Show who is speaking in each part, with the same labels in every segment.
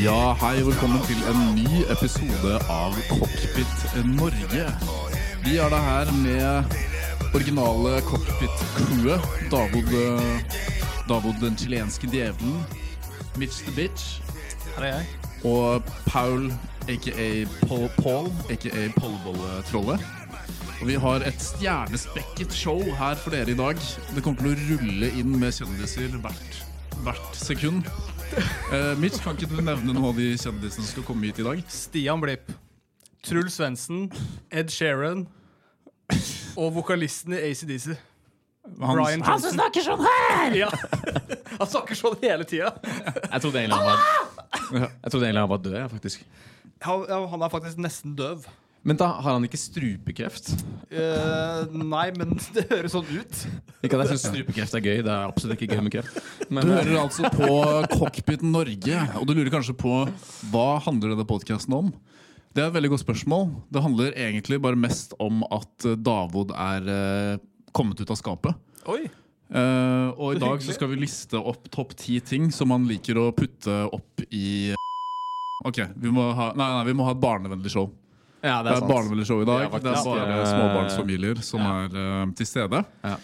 Speaker 1: Ja, hei, velkommen til en ny episode av Cockpit Norge. Vi er da her med originale cockpit-crewet. Davod, eh, Davod den chilenske djevelen, Mitch the Bitch
Speaker 2: Her er jeg.
Speaker 1: og Paul, aka Paul, Paul aka Pollebolle-trollet. Og vi har et stjernespekket show her for dere i dag. Det kommer til å rulle inn med kjendiser hvert, hvert sekund. Eh, Mitch, kan ikke du nevne noen av de kjendisene som skal komme hit i dag?
Speaker 2: Stian Blipp. Truls Svendsen. Ed Sheeran. Og vokalisten i ACDC.
Speaker 1: Hans-
Speaker 2: Brian
Speaker 3: Han som
Speaker 2: Johnson.
Speaker 3: snakker sånn her!
Speaker 2: Ja. Han snakker sånn hele tida.
Speaker 3: Jeg trodde egentlig han var, jeg trodde egentlig han var død, jeg, faktisk.
Speaker 2: Han, ja, han er faktisk nesten døv.
Speaker 3: Men da har han ikke strupekreft?
Speaker 2: Eh, nei, men det høres sånn ut.
Speaker 3: Ikke at jeg syns strupekreft er gøy. Det er absolutt ikke gøy med kreft. Men,
Speaker 1: Du hører altså på Cockpit Norge, og du lurer kanskje på hva handler denne podkasten om? Det er et veldig godt spørsmål. Det handler egentlig bare mest om at eh, Davod er eh, kommet ut av skapet.
Speaker 2: Oi.
Speaker 1: Eh, og i
Speaker 2: Så
Speaker 1: dag
Speaker 2: hyggelig.
Speaker 1: så skal vi liste opp topp ti ting som man liker å putte opp i eh, Ok, vi må ha, nei, nei, vi må ha et barnevennlig show.
Speaker 3: ja,
Speaker 1: Det er et barnevennlig show i dag.
Speaker 3: Ja, faktisk.
Speaker 1: det er bare
Speaker 3: Ja.
Speaker 1: småbarnsfamilier som er eh, til stede.
Speaker 3: Sånn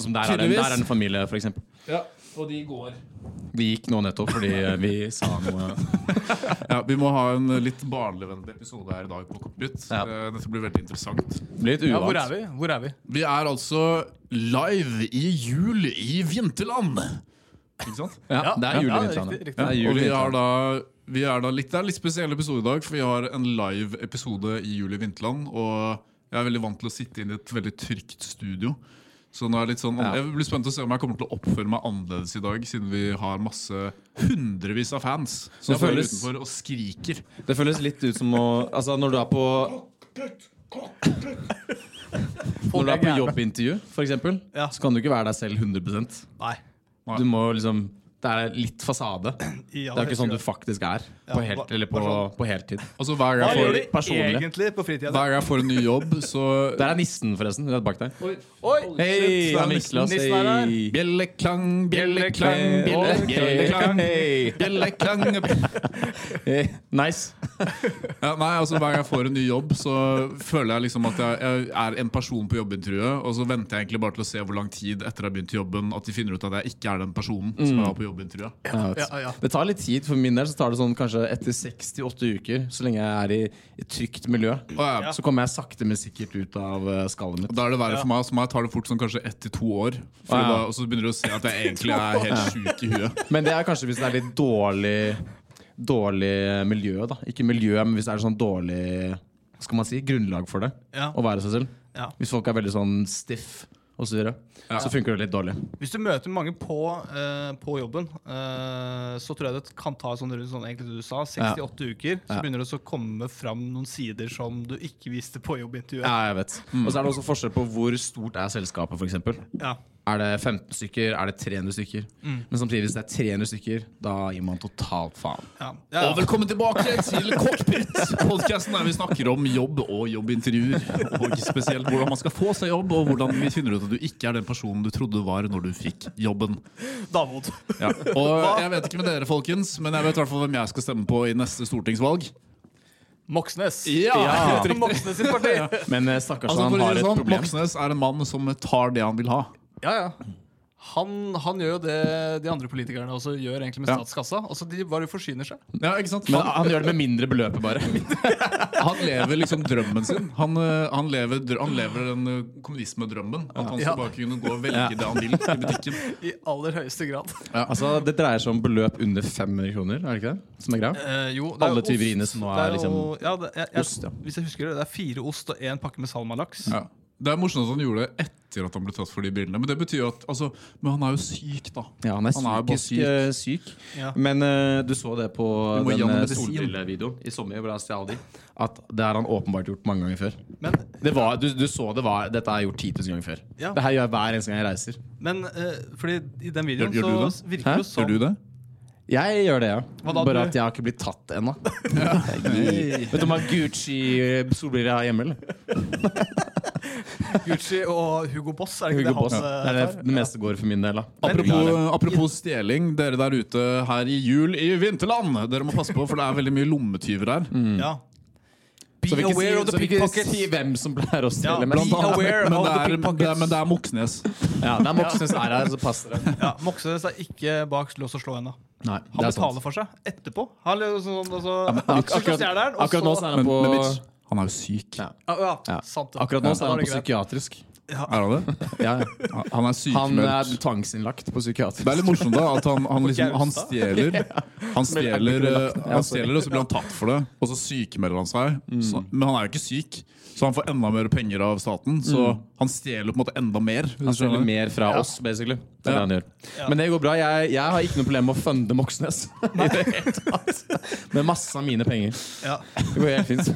Speaker 3: Som der, er en,
Speaker 1: Tydeligvis.
Speaker 3: der er en familie, for eksempel.
Speaker 1: og de går.
Speaker 3: De gikk nå nettopp fordi eh, vi sa noe
Speaker 1: Ja, Vi må ha en litt barnevennlig episode her i dag på Cockpit.
Speaker 3: Ja.
Speaker 1: Eh, dette blir veldig interessant.
Speaker 3: Ble litt
Speaker 2: Ja, hvor er
Speaker 3: uvant.
Speaker 2: vi? Hvor er vi?
Speaker 1: Vi er altså live i jul i vinterland! Ikke sant?
Speaker 3: Ja, det er
Speaker 2: Ja,
Speaker 3: jul i
Speaker 2: ja,
Speaker 3: vinterlandet.
Speaker 2: riktig, riktig.
Speaker 3: Det er
Speaker 1: Og
Speaker 3: jul i
Speaker 1: vi er
Speaker 3: vinterlandet.
Speaker 1: da, vi er da litt, Det er en litt spesiell episode i dag, for vi har en live episode i Juli Vinterland. Og jeg er veldig vant til å sitte inn i et veldig trygt studio. Så nå er det litt sånn,
Speaker 3: Ja.
Speaker 1: Jeg blir spent å se om jeg kommer til å oppføre meg annerledes i dag, siden vi har masse hundrevis av fans som
Speaker 3: Det
Speaker 1: står
Speaker 3: føles-
Speaker 1: utenfor og skriker.
Speaker 3: Det føles litt ut som å Altså, når du er på Når du er på jobbintervju, for eksempel,
Speaker 2: Ja.
Speaker 3: så kan du ikke være deg selv 100
Speaker 2: Nei.
Speaker 3: Du må liksom Det er litt fasade. Det
Speaker 2: I aller
Speaker 3: er ikke
Speaker 2: høyeste
Speaker 3: sånn du
Speaker 2: grad.
Speaker 3: faktisk er på,
Speaker 2: Ja,
Speaker 3: helt,
Speaker 2: bare-
Speaker 3: eller på,
Speaker 2: bare
Speaker 3: på heltid.
Speaker 1: Altså Hver gang
Speaker 2: Hva
Speaker 1: jeg
Speaker 2: gjør
Speaker 1: får,
Speaker 2: de
Speaker 3: personlig.
Speaker 2: egentlig på fritida?
Speaker 1: hver gang jeg får en ny jobb, så
Speaker 3: Der er nissen, forresten. Rett bak deg.
Speaker 2: Oi!
Speaker 3: Hei,
Speaker 2: shit.
Speaker 3: han vinkler oss.
Speaker 2: Nissen er her.
Speaker 3: Hei.
Speaker 1: Bjelleklang, bjelleklang, bjelle,
Speaker 3: Ok.
Speaker 1: bjelleklang.
Speaker 3: Hei.
Speaker 1: Bjelleklang
Speaker 3: Hei. Nice.
Speaker 1: Ja, nei, altså Hver gang jeg får en ny jobb, så føler jeg liksom at jeg, jeg er en person på jobbintervjuet. Og så venter jeg egentlig bare til å se hvor lang tid etter jeg har begynt i jobben at de finner ut at jeg ikke er den personen som jeg var på jobbintervjuet.
Speaker 3: Ja, vet du.
Speaker 2: Ja, ja.
Speaker 3: Det tar litt tid. For min del så tar det sånn kanskje etter 6-8 uker, så lenge jeg er i et trygt miljø.
Speaker 1: Og jeg,
Speaker 3: Så kommer jeg sakte, men sikkert ut av eh, skallet mitt.
Speaker 1: da er det verre for meg. Så jeg tar det fort som kanskje ett til to år. For
Speaker 3: Ja, ja.
Speaker 1: da, og så begynner du å se at jeg egentlig er helt sjuk i huet.
Speaker 3: Men det er kanskje hvis det er litt dårlig Dårlig miljø, da. Ikke miljø, men hvis det er sånn dårlig Hva skal man si? Grunnlag for det.
Speaker 2: Ja.
Speaker 3: Å være seg selv.
Speaker 2: Ja.
Speaker 3: Hvis folk er veldig sånn stiff og så videre, så funker det litt dårlig.
Speaker 2: Hvis du møter mange på, eh, på jobben, eh, så tror jeg det kan ta sånn rundt sånn, egentlig det du sa, 68 uker. Så
Speaker 3: Ja.
Speaker 2: begynner det også å komme fram noen sider som du ikke visste på jobbintervjuet.
Speaker 3: Ja, jeg vet. Mm. Og så er det også forskjell på hvor stort er selskapet, for eksempel
Speaker 2: Ja.
Speaker 3: Er det 15 stykker? Er det 300 stykker?
Speaker 1: Mm.
Speaker 3: Men samtidig, hvis det er 300 stykker, da gir man totalt faen.
Speaker 2: Ja. Ja.
Speaker 1: Og velkommen tilbake til Cockpit, podkasten der vi snakker om jobb og jobbintervjuer. Og spesielt hvordan man skal få seg jobb, og hvordan vi finner ut at du ikke er den personen du trodde du var når du fikk jobben.
Speaker 2: Davod.
Speaker 1: Ja. Og jeg vet ikke med dere, folkens, men jeg vet i hvert fall hvem jeg skal stemme på i neste stortingsvalg.
Speaker 2: Moxnes.
Speaker 1: Ja.
Speaker 2: Moxnes sitt parti.
Speaker 3: Men eh, stakkars,
Speaker 1: Altså,
Speaker 3: han
Speaker 1: for å si
Speaker 3: har
Speaker 1: det
Speaker 3: et
Speaker 1: sånn,
Speaker 3: problem.
Speaker 1: Moxnes er en mann som tar det han vil ha.
Speaker 2: Ja, ja. Han, han gjør jo det de andre politikerne også gjør egentlig med
Speaker 1: Ja.
Speaker 2: statskassa. Altså, De bare forsyner seg.
Speaker 1: Ja, ikke sant?
Speaker 3: Men
Speaker 1: Han,
Speaker 3: han gjør det med mindre beløpet, bare.
Speaker 1: han lever liksom drømmen sin. Han, eh, han, lever, dr- han lever den eh, kommunismedrømmen. At han
Speaker 2: Ja.
Speaker 1: skal bare kunne gå og velge det han vil i butikken.
Speaker 2: I aller høyeste grad.
Speaker 3: Altså, Det dreier seg om beløp under 500 kroner, er det ikke det? Som er greia?
Speaker 2: Eh, jo, det er
Speaker 3: Alle
Speaker 2: ost.
Speaker 3: tyveriene som nå
Speaker 2: Det
Speaker 3: er
Speaker 2: jo-
Speaker 3: liksom
Speaker 2: ja, det, jeg, jeg,
Speaker 3: ost, ja.
Speaker 2: Hvis jeg husker det, det er fire ost og én pakke med salmalaks.
Speaker 1: Ja. Det er morsomt at han gjorde det etter at han ble tatt for de brillene. Men det betyr jo at, altså, men han er jo syk, da.
Speaker 3: Ja, han er
Speaker 1: Han er bare
Speaker 3: psykisk eh, syk.
Speaker 2: Ja.
Speaker 3: Men eh, du så det på
Speaker 1: Du må
Speaker 3: den
Speaker 1: gjennom
Speaker 3: eh,
Speaker 1: medisin.
Speaker 3: solbrillevideoen i sommer. hvor han stjal de, At det har han åpenbart gjort mange ganger før.
Speaker 2: Men
Speaker 3: Det var, du, du så det var Dette har jeg gjort 10 000 ganger før.
Speaker 2: Ja.
Speaker 3: Det her gjør jeg hver eneste gang jeg reiser.
Speaker 2: Men eh, fordi i den videoen
Speaker 1: Gjør- gjør du
Speaker 2: så
Speaker 1: det?
Speaker 2: virker det jo
Speaker 1: Gjør
Speaker 2: sånn
Speaker 1: du det?
Speaker 3: Jeg gjør det, ja.
Speaker 2: Hva da,
Speaker 3: Bare
Speaker 2: du?
Speaker 3: at jeg har ikke blitt tatt ennå. Vet du om jeg har Gucci-solbriller jeg har hjemme, eller?
Speaker 2: Gucci og Hugo Boss, er det ikke det
Speaker 3: Hugo Boss.
Speaker 2: han
Speaker 3: Det
Speaker 2: eh,
Speaker 3: er det,
Speaker 2: tar?
Speaker 3: det meste går for min del, da.
Speaker 1: Apropos, apropos stjeling, dere der ute her i jul i vinterland. Dere må passe på, for det er veldig mye lommetyver her.
Speaker 3: Mm.
Speaker 2: Ja. Be
Speaker 3: Så vi ikke
Speaker 2: aware
Speaker 3: sier-
Speaker 2: of the
Speaker 3: så vi ikke
Speaker 2: pickpockets.
Speaker 3: sier hvem som pleier
Speaker 2: Ja,
Speaker 3: å stjele
Speaker 2: be
Speaker 3: mest.
Speaker 2: aware
Speaker 1: Men
Speaker 2: of
Speaker 1: det
Speaker 2: the
Speaker 1: er, det er,
Speaker 2: pickpockets.
Speaker 1: men det er Moxnes.
Speaker 3: Ja, det er Moxnes er her, så passer det.
Speaker 2: Ja, Moxnes er ikke bak lås og slå ennå.
Speaker 3: Nei,
Speaker 2: Han
Speaker 3: det er
Speaker 2: betaler
Speaker 3: sant.
Speaker 2: for seg etterpå. Han er jo sånn, altså,
Speaker 3: Ak
Speaker 2: så
Speaker 3: akkurat,
Speaker 2: stjeler han, og
Speaker 3: akkurat nå så er han
Speaker 1: Men,
Speaker 3: på
Speaker 1: men Mitch, han er jo syk.
Speaker 3: Ja.
Speaker 2: ja, ja,
Speaker 3: Ja.
Speaker 2: Sant, det.
Speaker 3: Akkurat nå så er han
Speaker 2: Ja,
Speaker 3: på
Speaker 2: da det greit.
Speaker 3: psykiatrisk.
Speaker 1: Er han det?
Speaker 3: Ja, ja.
Speaker 1: Han er
Speaker 3: Han er
Speaker 1: sykmeldt.
Speaker 3: tvangsinnlagt på psykiatrisk.
Speaker 1: Det er litt morsomt da at han, han, liksom, han
Speaker 2: Gaustad?
Speaker 1: stjeler Han stjeler,
Speaker 3: Ja,
Speaker 1: eh, han stjeler og så blir han tatt for det, og så sykemelder han seg.
Speaker 2: Mm.
Speaker 1: Så, men han er jo ikke syk, så han får enda mer penger av staten. Så
Speaker 2: Mm.
Speaker 1: han stjeler på en måte enda mer.
Speaker 3: Han
Speaker 1: Hvis du
Speaker 3: stjeler
Speaker 1: skjønner.
Speaker 3: mer fra oss, basically. Det er
Speaker 1: Ja.
Speaker 3: det han gjør. Men det går bra. Jeg, jeg har ikke noe problem med å funde Moxnes. I det hele tatt. Med masse av mine penger.
Speaker 2: Ja.
Speaker 3: Det går helt fint.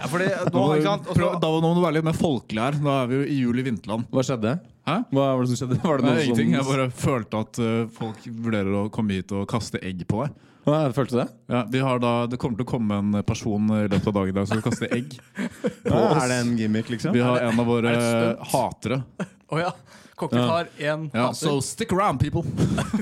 Speaker 2: Ja, fordi nå,
Speaker 1: Nå må,
Speaker 2: ikke sant, og
Speaker 1: prøv,
Speaker 2: så-
Speaker 1: da nå må du være litt mer folkelig her. Nå er vi jo i jul i vinterland.
Speaker 3: Hva skjedde?
Speaker 1: Hæ?
Speaker 3: Hva var det som skjedde? Var det
Speaker 1: Nei,
Speaker 3: noe
Speaker 1: ingenting. Jeg
Speaker 3: som
Speaker 1: bare følte at eh, folk vurderer å komme hit og kaste egg på deg.
Speaker 3: Hva, Følte du det?
Speaker 1: Ja, vi har da, det kommer til å komme en person i løpet av dagen i dag som skal kaste egg.
Speaker 3: er det en gimmick, liksom?
Speaker 1: Vi har en av våre
Speaker 2: er det
Speaker 1: hatere.
Speaker 2: Å ja. Kokken har én
Speaker 1: Ja,
Speaker 2: hater.
Speaker 1: so stick around, people!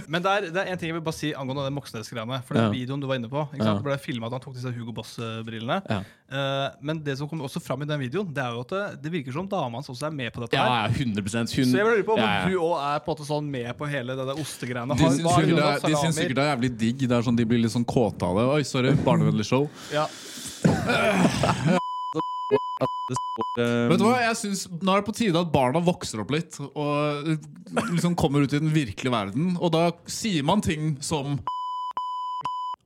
Speaker 2: Men det er, det er en ting jeg vil bare si angående det Moxnes-greiene. For den
Speaker 3: Ja.
Speaker 2: videoen du var inne på, ikke
Speaker 3: Ja.
Speaker 2: sant? ble filma at han tok disse Hugo Boss-brillene.
Speaker 3: Ja.
Speaker 2: Eh, men det som kommer også fram i den videoen, Det er jo at det, det virker som dama hans også er med på dette.
Speaker 3: Ja,
Speaker 2: her
Speaker 3: ja, 100 Hun
Speaker 2: Så jeg lurer på om
Speaker 3: Ja, ja.
Speaker 2: du òg er på en måte sånn med på hele det der ostegreiene.
Speaker 1: De
Speaker 2: Har-
Speaker 1: syns
Speaker 2: hva er
Speaker 1: sikkert, det
Speaker 2: hun
Speaker 1: er- de
Speaker 2: har
Speaker 1: syns
Speaker 2: salamer?
Speaker 1: sikkert det er jævlig digg. Det er sånn, De blir litt sånn kåte av det. Oi, sorry, barnevennlig show.
Speaker 2: ja.
Speaker 1: Vet du hva, jeg synes, Nå er det på tide at barna vokser opp litt og liksom kommer ut i den virkelige verden. Og da sier man ting som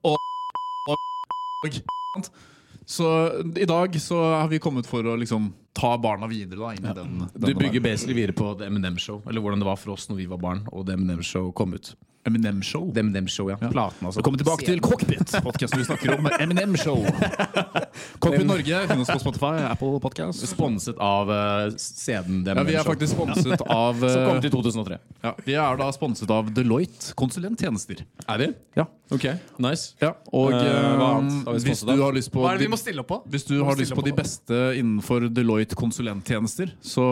Speaker 1: og, og, og Så i dag så har vi kommet for å liksom ta barna videre da, inn i den,
Speaker 3: Du
Speaker 1: denne
Speaker 3: bygger
Speaker 1: verden.
Speaker 3: basically videre på The M&M Show, eller hvordan det var for oss når vi var barn. Og The M&M Show kom ut.
Speaker 1: Eminem-show.
Speaker 3: The M&M Show, ja. Platen, altså.
Speaker 1: Velkommen tilbake til Cockpit, podkasten vi snakker om Eminem-show. Cockpit Norge finnes på Spotify, Apple Podcast.
Speaker 3: Sponset av uh, CD-en
Speaker 1: Ja,
Speaker 3: The M&M
Speaker 1: vi er
Speaker 3: Show.
Speaker 1: faktisk sponset av
Speaker 3: Som kom
Speaker 1: eh,
Speaker 3: til 2003.
Speaker 1: ja, Vi er da sponset av Deloitte konsulenttjenester.
Speaker 3: Er vi?
Speaker 1: Ja.
Speaker 3: Ok, nice.
Speaker 1: Og
Speaker 3: Eh, hva annet
Speaker 1: eh,
Speaker 3: har vi
Speaker 1: hvis
Speaker 3: sponset
Speaker 1: du
Speaker 3: av?
Speaker 1: har lyst på
Speaker 2: Hva er det
Speaker 1: de-
Speaker 2: vi må stille opp på?
Speaker 1: hvis du har lyst på de beste innenfor Deloitte konsulenttjenester, så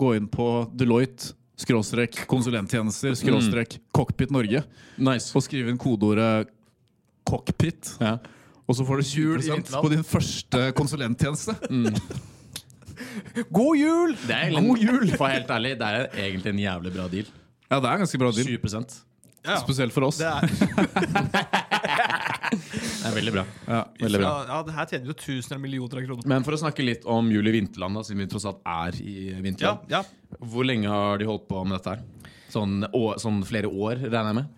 Speaker 1: gå inn på Deloitte skråstrek konsulenttjenester skråstrek Cockpit Norge
Speaker 3: Nice.
Speaker 1: og skriv inn kodeordet 'cockpit',
Speaker 3: Ja.
Speaker 1: og så får du jul i vinterland på din første konsulenttjeneste.
Speaker 2: God jul!
Speaker 3: Det er egentlig, God jul! For å være helt ærlig, det er egentlig en jævlig bra deal.
Speaker 1: Ja, det er en ganske bra deal.
Speaker 3: 20 Det
Speaker 2: Ja.
Speaker 1: Spesielt for oss.
Speaker 2: Det er,
Speaker 3: er veldig bra.
Speaker 1: Ja.
Speaker 3: Veldig bra.
Speaker 2: Ja, det her tjener jo tusener av millioner av kroner.
Speaker 3: Men for å snakke litt om jul i vinterland, da, siden vi tross alt er i
Speaker 2: Ja,
Speaker 3: vinterland.
Speaker 2: ja.
Speaker 3: Hvor lenge har de holdt på med dette her? Sånn, å, sånn flere år, regner jeg med?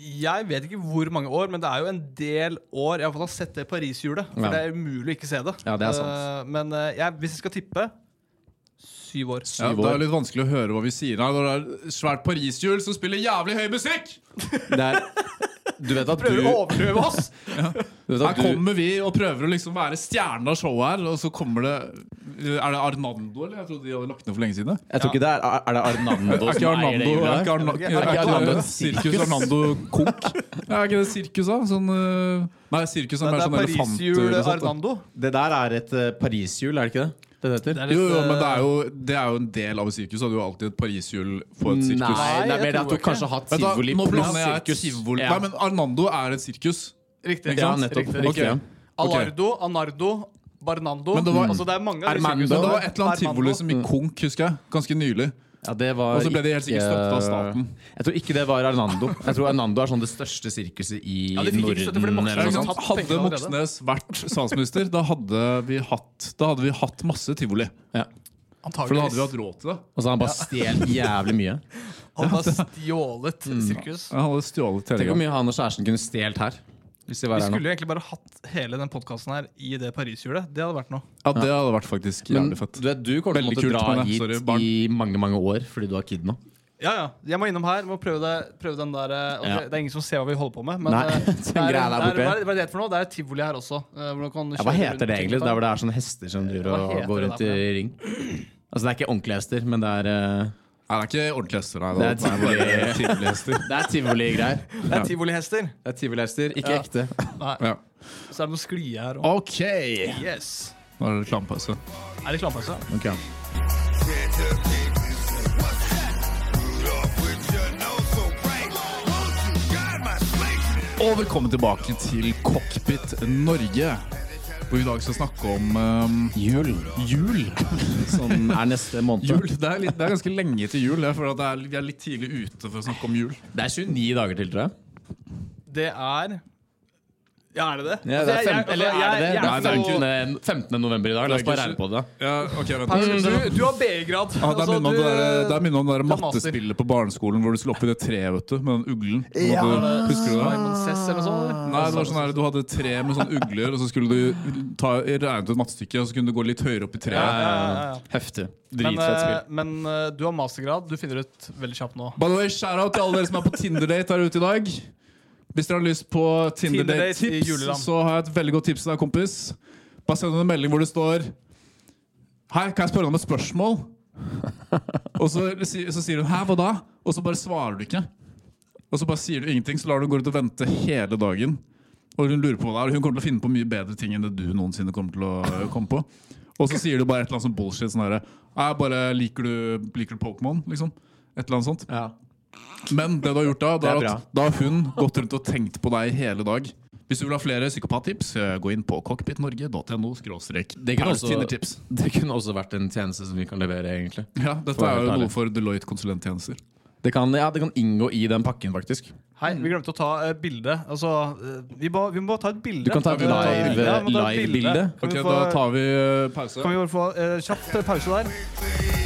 Speaker 2: Jeg vet ikke hvor mange år, men det er jo en del år. Jeg har fått sett det Paris-hjulet. For
Speaker 3: Ja.
Speaker 2: det er umulig å ikke se det.
Speaker 3: Ja, det er
Speaker 2: Eh,
Speaker 3: sant.
Speaker 2: men eh, jeg, hvis jeg skal tippe syv år.
Speaker 1: Ja,
Speaker 3: Syv
Speaker 1: det er
Speaker 3: år.
Speaker 1: litt vanskelig å høre hva vi sier. Nei, det er svært pariserhjul som spiller jævlig høy musikk!
Speaker 3: Det er, du vet at du,
Speaker 2: Prøver å overprøve oss!
Speaker 3: du, vet
Speaker 1: Her
Speaker 3: at du
Speaker 1: kommer vi og prøver å liksom være stjernen av showet her, og så kommer det Er det Arnando, eller? Jeg trodde de hadde lagt ned for lenge siden.
Speaker 3: Jeg tror ikke det er Er det Arnando
Speaker 1: Er ikke
Speaker 3: som eier det
Speaker 1: Arnando,
Speaker 3: hjulet
Speaker 1: er ikke
Speaker 3: her?
Speaker 1: Arna,
Speaker 2: Er
Speaker 1: er
Speaker 3: ikke Arnando
Speaker 1: ikke
Speaker 3: et
Speaker 1: Sirkus Arnando Konk? Er ikke det sirkus, da? Sånn, øh, nei, sirkus er
Speaker 2: Det
Speaker 1: mer
Speaker 2: er
Speaker 1: sånn elefant. eller sånt, da.
Speaker 2: Paris-hjul-Arnando.
Speaker 3: Det der er et eh, Parishjul, er det ikke det? Det heter?
Speaker 2: Det er litt,
Speaker 1: Jo, jo, men det
Speaker 2: eh,
Speaker 1: er jo, det er jo en del av et sirkus. Hadde jo alltid et pariserhjul på et sirkus.
Speaker 3: Nei, det
Speaker 2: jeg
Speaker 3: er mer det
Speaker 2: tror
Speaker 3: at du
Speaker 2: ikke.
Speaker 3: kanskje har hatt
Speaker 1: Vent da,
Speaker 3: tivoli
Speaker 1: nå
Speaker 3: pluss
Speaker 1: blander jeg
Speaker 3: sirkus.
Speaker 1: tivoli
Speaker 3: Ja.
Speaker 1: Nei, men Arnando er et sirkus.
Speaker 2: eh, Riktig.
Speaker 1: Ikke
Speaker 3: Ja,
Speaker 1: sant?
Speaker 3: nettopp.
Speaker 1: Riktig.
Speaker 3: Riktig, ja.
Speaker 1: Ok.
Speaker 2: Alardo, Anardo, Barnando.
Speaker 1: Men det var-
Speaker 2: altså, det er mange av de
Speaker 3: Armando.
Speaker 2: sykehusene.
Speaker 1: Men det var et eller annet
Speaker 2: Armando.
Speaker 1: tivoli som gikk konk, husker jeg. Ganske nylig.
Speaker 3: Ja, det var
Speaker 1: Og så ble de helt sikkert
Speaker 3: ikke- eh,
Speaker 1: støttet av staten.
Speaker 3: Jeg tror ikke det var Arnando. Jeg tror Arnando er sånn det største sirkuset i
Speaker 2: Ja, de fikk ikke
Speaker 3: Norden.
Speaker 2: støtte fordi Moxnes
Speaker 3: eller noe
Speaker 2: hadde
Speaker 3: sånt.
Speaker 2: tatt-
Speaker 1: Hadde
Speaker 2: penger allerede.
Speaker 1: Moxnes vært statsminister, da hadde vi hatt, da hadde vi hatt masse tivoli.
Speaker 3: Ja.
Speaker 1: For da hadde vi
Speaker 2: Antageligvis.
Speaker 1: hatt råd til det.
Speaker 3: Og så har han bare stjålet jævlig mye.
Speaker 2: Han har stjålet
Speaker 1: Mm.
Speaker 2: sirkus.
Speaker 1: Jeg hadde stjålet hele
Speaker 3: Tenk hvor
Speaker 1: gangen.
Speaker 3: mye han og kjæresten kunne stjålet her. Hvis de var
Speaker 2: Vi
Speaker 3: her nå.
Speaker 2: skulle jo egentlig bare hatt hele den podkasten her i det Paris-hjulet. Det hadde vært noe.
Speaker 1: Ja, det hadde vært faktisk jævlig
Speaker 3: Men du
Speaker 1: fett.
Speaker 3: vet, du kommer til å
Speaker 1: Veldig
Speaker 3: måtte
Speaker 1: kult,
Speaker 3: dra
Speaker 1: men det-
Speaker 3: hit
Speaker 1: sorry, barn.
Speaker 3: i mange mange år fordi du har kid nå.
Speaker 2: Ja, ja. Jeg må innom her. Må prøve, det, prøve den der eh, og
Speaker 3: Ja.
Speaker 2: det, det er ingen som ser hva vi holder på med. Men
Speaker 3: Nei,
Speaker 2: eh,
Speaker 3: den
Speaker 2: det er-
Speaker 3: greia der
Speaker 2: det er-
Speaker 3: borte.
Speaker 2: Hva er- hva er det for noe? Det er et tivoli her også. eh, hvor du kan
Speaker 3: Ja, hva
Speaker 2: kjøre
Speaker 3: heter
Speaker 2: rundt
Speaker 3: det
Speaker 2: og
Speaker 3: egentlig?
Speaker 2: ting.
Speaker 3: Der hvor det er sånne hester som driver
Speaker 2: Hva
Speaker 3: og
Speaker 2: heter
Speaker 3: går
Speaker 2: det
Speaker 3: rundt
Speaker 2: der for
Speaker 3: i ring? Altså det er ikke ordentlige hester, men det er eh,
Speaker 1: Nei, det er ikke ordentlige hester, nei.
Speaker 3: Det er
Speaker 1: bare tivolihester.
Speaker 3: Det er tivoli-greier.
Speaker 2: Det er tivolihester.
Speaker 3: Det er tivolihester, ikke
Speaker 2: Ja.
Speaker 3: ekte.
Speaker 2: Nei,
Speaker 1: Ja.
Speaker 2: Så er det noen sklie her òg.
Speaker 1: OK!
Speaker 2: Yes.
Speaker 1: Nå er det reklamepause.
Speaker 2: Er det klampause?
Speaker 3: Ok.
Speaker 4: Can't
Speaker 1: Og velkommen tilbake til Cockpit Norge, hvor vi i dag skal snakke om eh,
Speaker 3: Jul.
Speaker 1: jul.
Speaker 3: Sånn er neste måned.
Speaker 1: jul. Det, er litt, det er ganske lenge til jul. Jeg føler at det er, vi er litt tidlig ute for å snakke om jul.
Speaker 3: Det er 29 dager til, tror jeg.
Speaker 2: Det er Ja, er det Altså, det?
Speaker 3: Ja, det er fem, eller er det det?
Speaker 1: jeg-
Speaker 3: Det er
Speaker 1: jeg-
Speaker 3: 15. 15. november i dag. La oss bare regne på det.
Speaker 1: Ja, ok, vent
Speaker 2: Du, du har B-grad.
Speaker 3: Ah,
Speaker 2: Altså,
Speaker 1: Ja, det er minnet Mm, om det der- det er minnet om det der
Speaker 2: er master.
Speaker 1: mattespillet på barneskolen hvor du skulle opp i det treet vet du, med den uglen. Ja, du, husker du det?
Speaker 2: Sess eller noe sånt? eller?
Speaker 1: Nei, det var sånn her, Du hadde et tre med sånne ugler, og så skulle du ta, regne ut et mattestykke, og så kunne du gå litt høyere opp i treet.
Speaker 2: Ja, ja, ja.
Speaker 3: Heftig.
Speaker 2: Men,
Speaker 3: Dritfett
Speaker 2: eh,
Speaker 3: spill.
Speaker 2: men eh, du har mastergrad. Du finner ut veldig kjapt nå.
Speaker 1: By the way, shout-out til alle dere som er på Tinder-date her ute i dag. Hvis dere har lyst på
Speaker 2: Tinder-date i
Speaker 1: Tinder-date-tips,
Speaker 2: juleland.
Speaker 1: så har jeg et veldig godt tips til deg, kompis. Bare send en melding hvor det står Hei, kan jeg spørre deg om et spørsmål? Og så, si- så sier hun hæ, hva da? Og så bare svarer du ikke. Og så bare sier du ingenting, så lar du henne gå ut og vente hele dagen. Og hun lurer på hva det er. Hun kommer til å finne på mye bedre ting enn det du noensinne kommer til å eh, komme på. Og så sier du bare et eller annet sånn bullshit sånn herre «Nei, bare liker du, liker du Pokémon, liksom? Et eller annet sånt.
Speaker 3: Ja.
Speaker 1: Men det du har gjort da, det
Speaker 3: Det
Speaker 1: er
Speaker 3: er
Speaker 1: at da har hun gått rundt og tenkt på deg hele dag. Hvis du vil ha flere psykopattips, eh, gå inn på cockpitnorge.no.
Speaker 3: Det kunne også-
Speaker 1: Tindertips.
Speaker 3: Det kunne også vært en tjeneste som vi kan levere, egentlig.
Speaker 1: Ja, dette
Speaker 3: For å
Speaker 1: er
Speaker 3: være
Speaker 1: jo
Speaker 3: helt
Speaker 1: noe
Speaker 3: ærlig.
Speaker 1: for Deloitte konsulenttjenester.
Speaker 3: Det kan, ja, det kan inngå i den pakken, faktisk.
Speaker 2: Hei, vi glemte å ta eh, bilde. Altså, eh, vi, må, vi må ta et bilde.
Speaker 3: Du kan ta et
Speaker 2: Ja, vi må
Speaker 3: live-
Speaker 2: bilde. Ja, vi må ta et
Speaker 3: live-bilde.
Speaker 2: bilde. Kan
Speaker 1: Ok,
Speaker 2: vi få-
Speaker 1: Da tar vi eh, pause.
Speaker 2: Kan vi bare få eh, kjapt eh, pause der?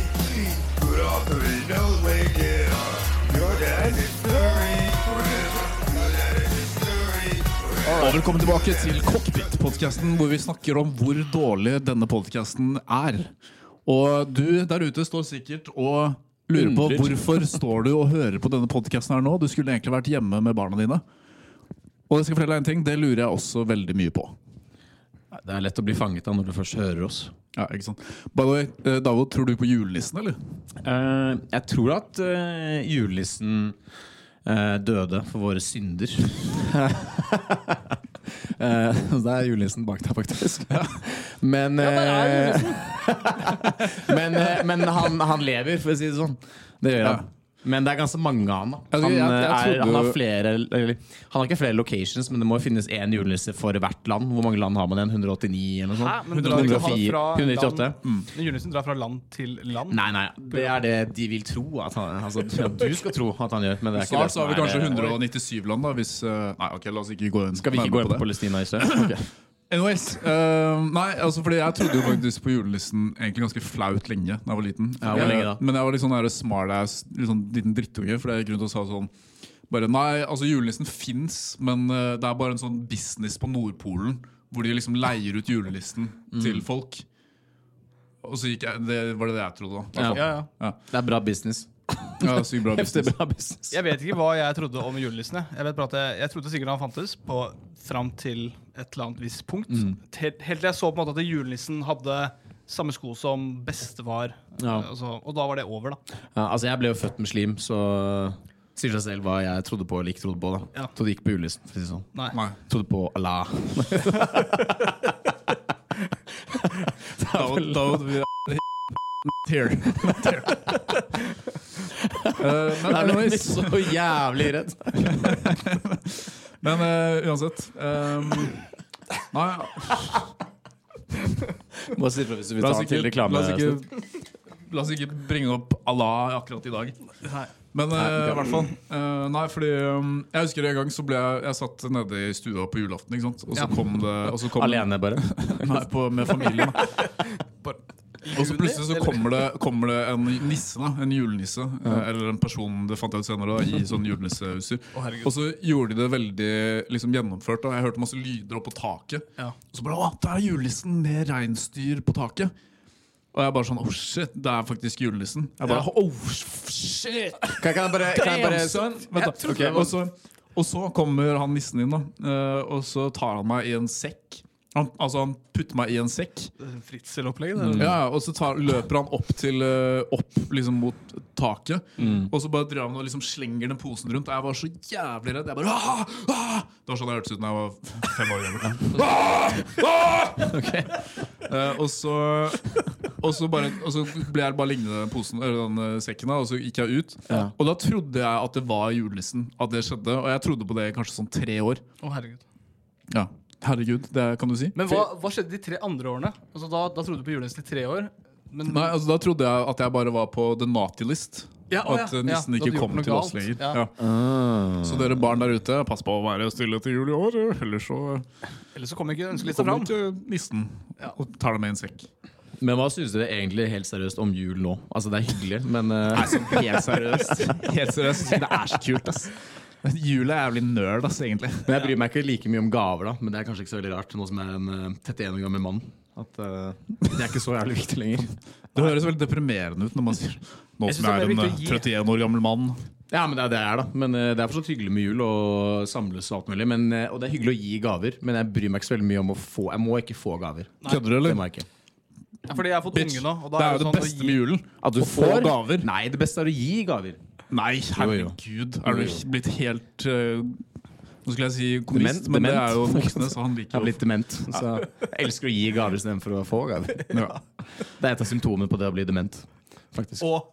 Speaker 4: Put off the windows, wake it up. Your dad's history forever. Your dad's history
Speaker 1: Og velkommen tilbake til Cockpit-podkasten, hvor vi snakker om hvor dårlig denne podkasten er. Og du der ute står sikkert og lurer på
Speaker 3: Undrer.
Speaker 1: hvorfor står du og hører på denne podkasten her nå. Du skulle egentlig vært hjemme med barna dine. Og jeg skal fortelle deg en ting, det lurer jeg også veldig mye på.
Speaker 3: Det er lett å bli fanget av når du først hører oss.
Speaker 1: Ja, ikke sant? By the way, eh, Davod, tror du på julenissen, eller?
Speaker 3: Eh, jeg tror at eh, julenissen eh, døde for våre synder. Eh, Så det er julenissen bak deg, faktisk. Men, eh, men, eh, men han, han lever, for å si det sånn. Det gjør
Speaker 1: Ja.
Speaker 3: han. Men det er ganske mange av han. da.
Speaker 1: Jeg-
Speaker 3: Han,
Speaker 1: jeg- jeg
Speaker 3: eh, er,
Speaker 1: trodde-
Speaker 3: han, har flere, eller, han har ikke flere locations, men det må jo finnes én julenisse for hvert land. Hvor mange land har man igjen? 189 eller noe sånt?
Speaker 2: Hæ? Men drar ikke han
Speaker 3: 104,
Speaker 2: fra
Speaker 3: 198.
Speaker 2: land- Men Julenissen drar fra land til land.
Speaker 3: Mm. Nei, nei, det er det de vil tro at han altså, at Du skal tro at han gjør, men det er ikke det
Speaker 1: Snart så
Speaker 3: som
Speaker 1: har vi
Speaker 3: er
Speaker 1: kanskje
Speaker 3: det.
Speaker 1: 197 land, da, hvis eh, Nei, ok, la oss ikke gå inn
Speaker 3: Skal vi ikke
Speaker 1: nærmere
Speaker 3: gå inn på Palestina i sted?
Speaker 1: Anyways, eh, nei, altså fordi jeg trodde jo faktisk på julenissen egentlig ganske flaut lenge da jeg var liten.
Speaker 3: Ja, hvor
Speaker 1: Eh,
Speaker 3: lenge da?
Speaker 1: Men jeg var litt sånn der smartass, litt sånn liten drittunge, fordi jeg gikk rundt og sa sånn bare, Nei, altså julenissen fins, men eh, det er bare en sånn business på Nordpolen hvor de liksom leier ut julenissen
Speaker 3: Mm.
Speaker 1: til folk. Og så gikk jeg, Det var det jeg trodde, da.
Speaker 3: Ja.
Speaker 2: Ja, ja.
Speaker 3: Det er bra business.
Speaker 1: Ja, sykt bra
Speaker 3: Heftig
Speaker 1: business.
Speaker 3: bra business.
Speaker 2: Jeg vet ikke hva jeg trodde om julenissen. Jeg. Jeg, vet bare at jeg, jeg trodde sikkert han fantes på fram til et eller annet visst punkt.
Speaker 3: Mm.
Speaker 2: Helt, helt til jeg så på en måte at julenissen hadde samme sko som bestefar.
Speaker 3: Ja.
Speaker 2: Altså, og da var det over, da.
Speaker 3: Ja, altså, jeg ble jo født muslim, så sier seg selv hva jeg trodde på eller ikke trodde på. da
Speaker 2: Ja.
Speaker 3: Trodde ikke på julenissen. for å si det sånn.
Speaker 2: Nei.
Speaker 1: Nei.
Speaker 3: Trodde på Allah.
Speaker 1: Da, da, here. Eh, men
Speaker 3: Jeg ble
Speaker 1: anyways
Speaker 3: så jævlig redd.
Speaker 1: Men eh, uansett ehm, Nei,
Speaker 3: Bare si ifra hvis du vil
Speaker 1: la
Speaker 3: ta
Speaker 1: oss
Speaker 3: den til
Speaker 1: ikke,
Speaker 3: reklame.
Speaker 1: la oss ikke, la oss ikke bringe opp Allah akkurat i dag.
Speaker 2: Nei.
Speaker 1: Men eh,
Speaker 3: Nei,
Speaker 1: i hvert fall eh, Nei, fordi ehm, jeg husker en gang så ble jeg, jeg satt nede i stua på julaften, ikke sant? og så
Speaker 2: Ja.
Speaker 1: kom det og så kom
Speaker 3: Alene, bare.
Speaker 1: Nei, på, med familien. Og så plutselig så kommer det, kommer det en nisse, da, en julenisse, eh, eller en person det fant jeg ut senere, da, i sånn julenisseutstyr.
Speaker 2: herregud.
Speaker 1: og så gjorde de det veldig liksom, gjennomført. Da. Jeg hørte masse lyder opp på taket.
Speaker 2: Ja.
Speaker 1: Og så bare Å, der er julenissen med reinsdyr på taket. Og jeg bare sånn Oh shit, det er faktisk julenissen. Jeg bare, oh shit
Speaker 3: Kan, kan jeg bare, kan jeg bare
Speaker 1: Vent da.
Speaker 3: Ok,
Speaker 1: og, så, og så kommer han nissen inn, da. eh, og så tar han meg i en sekk. Han, altså, han putter meg i en sekk.
Speaker 2: Fritzel-opplegget?
Speaker 1: Ja, og så tar, løper han opp til eh, Opp liksom mot taket. Og så bare drev han og liksom slenger den posen rundt. Og jeg var så jævlig redd. Jeg bare, ah, ah! Det var sånn jeg hørtes ut da jeg var fem år gammel. «Ah, Eh, og så og så, bare, og så ble jeg bare liggende i den posen Eller den eh, sekken, da, og så gikk jeg ut.
Speaker 3: Ja.
Speaker 1: Og da trodde jeg at det var julenissen. At det skjedde Og jeg trodde på det i kanskje sånn tre år.
Speaker 3: Mm.
Speaker 2: Å, herregud.
Speaker 1: Ja, Herregud, det kan du si.
Speaker 2: Men hva, hva skjedde de tre andre årene? Altså, da, da trodde du på julenissen i tre år. Men,
Speaker 1: Nei, altså Da trodde jeg at jeg bare var på the naughty list.
Speaker 2: Ja, å, ja.
Speaker 1: At eh, nissen
Speaker 2: Ja, da hadde
Speaker 1: ikke
Speaker 2: du
Speaker 1: kom
Speaker 2: gjort
Speaker 1: til
Speaker 2: noe
Speaker 1: oss lenger.
Speaker 2: galt.
Speaker 1: Ja.
Speaker 2: Ja.
Speaker 1: Så dere barn der ute, pass på å være stille til jul i år, eh, ellers så
Speaker 2: Ellers så kom ikke ønskelista
Speaker 1: kommer
Speaker 2: fram.
Speaker 1: ikke nissen og tar deg med i en sekk.
Speaker 3: Men hva syns dere egentlig helt seriøst om jul nå? Altså, det er hyggelig, men eh,
Speaker 1: Helt seriøst. Helt seriøst, Det er så kult, ass. Jul er jævlig nerd, ass, egentlig.
Speaker 3: Men jeg bryr meg ikke like mye om gaver, da. Men det er kanskje ikke så veldig rart, nå som jeg er en eh, 31 år gammel mann. At eh, det er ikke så jævlig viktig lenger.
Speaker 1: Det høres veldig deprimerende ut når man sier Nå
Speaker 2: Jeg
Speaker 1: som
Speaker 2: synes
Speaker 1: jeg
Speaker 2: det
Speaker 1: er
Speaker 2: er
Speaker 1: en eh,
Speaker 2: viktig å gi.
Speaker 1: 31 år gammel mann.
Speaker 3: Ja, men det er det jeg er, da. Men eh, det er fortsatt hyggelig med jul og samles og alt mulig. Men, eh, og det er hyggelig å gi gaver, men jeg bryr meg ikke så veldig mye om å få Jeg må ikke få gaver.
Speaker 1: Kødder du,
Speaker 3: Det
Speaker 1: eller?
Speaker 3: må jeg ikke.
Speaker 2: Ja, fordi jeg har fått
Speaker 1: Bitch.
Speaker 2: unge nå. Og da
Speaker 1: det er jo
Speaker 2: sånn
Speaker 1: det
Speaker 2: å
Speaker 1: beste
Speaker 2: gi-
Speaker 1: med julen.
Speaker 3: At du
Speaker 1: Å få gaver?
Speaker 3: Nei, det beste er å gi gaver.
Speaker 1: Nei,
Speaker 3: jo.
Speaker 1: herregud. Er
Speaker 3: Jo,
Speaker 1: du
Speaker 3: jo.
Speaker 1: blitt helt eh, Nå skulle jeg si kommunist,
Speaker 3: Dement,
Speaker 1: men det
Speaker 3: dement.
Speaker 1: er jo en voksne, så han
Speaker 3: Jeg
Speaker 1: liker
Speaker 3: er
Speaker 1: jo
Speaker 3: blitt dement. Så jeg elsker å gi gaver istedenfor å få gaver. Det er et av symptomene på det å bli dement. Faktisk.
Speaker 2: Og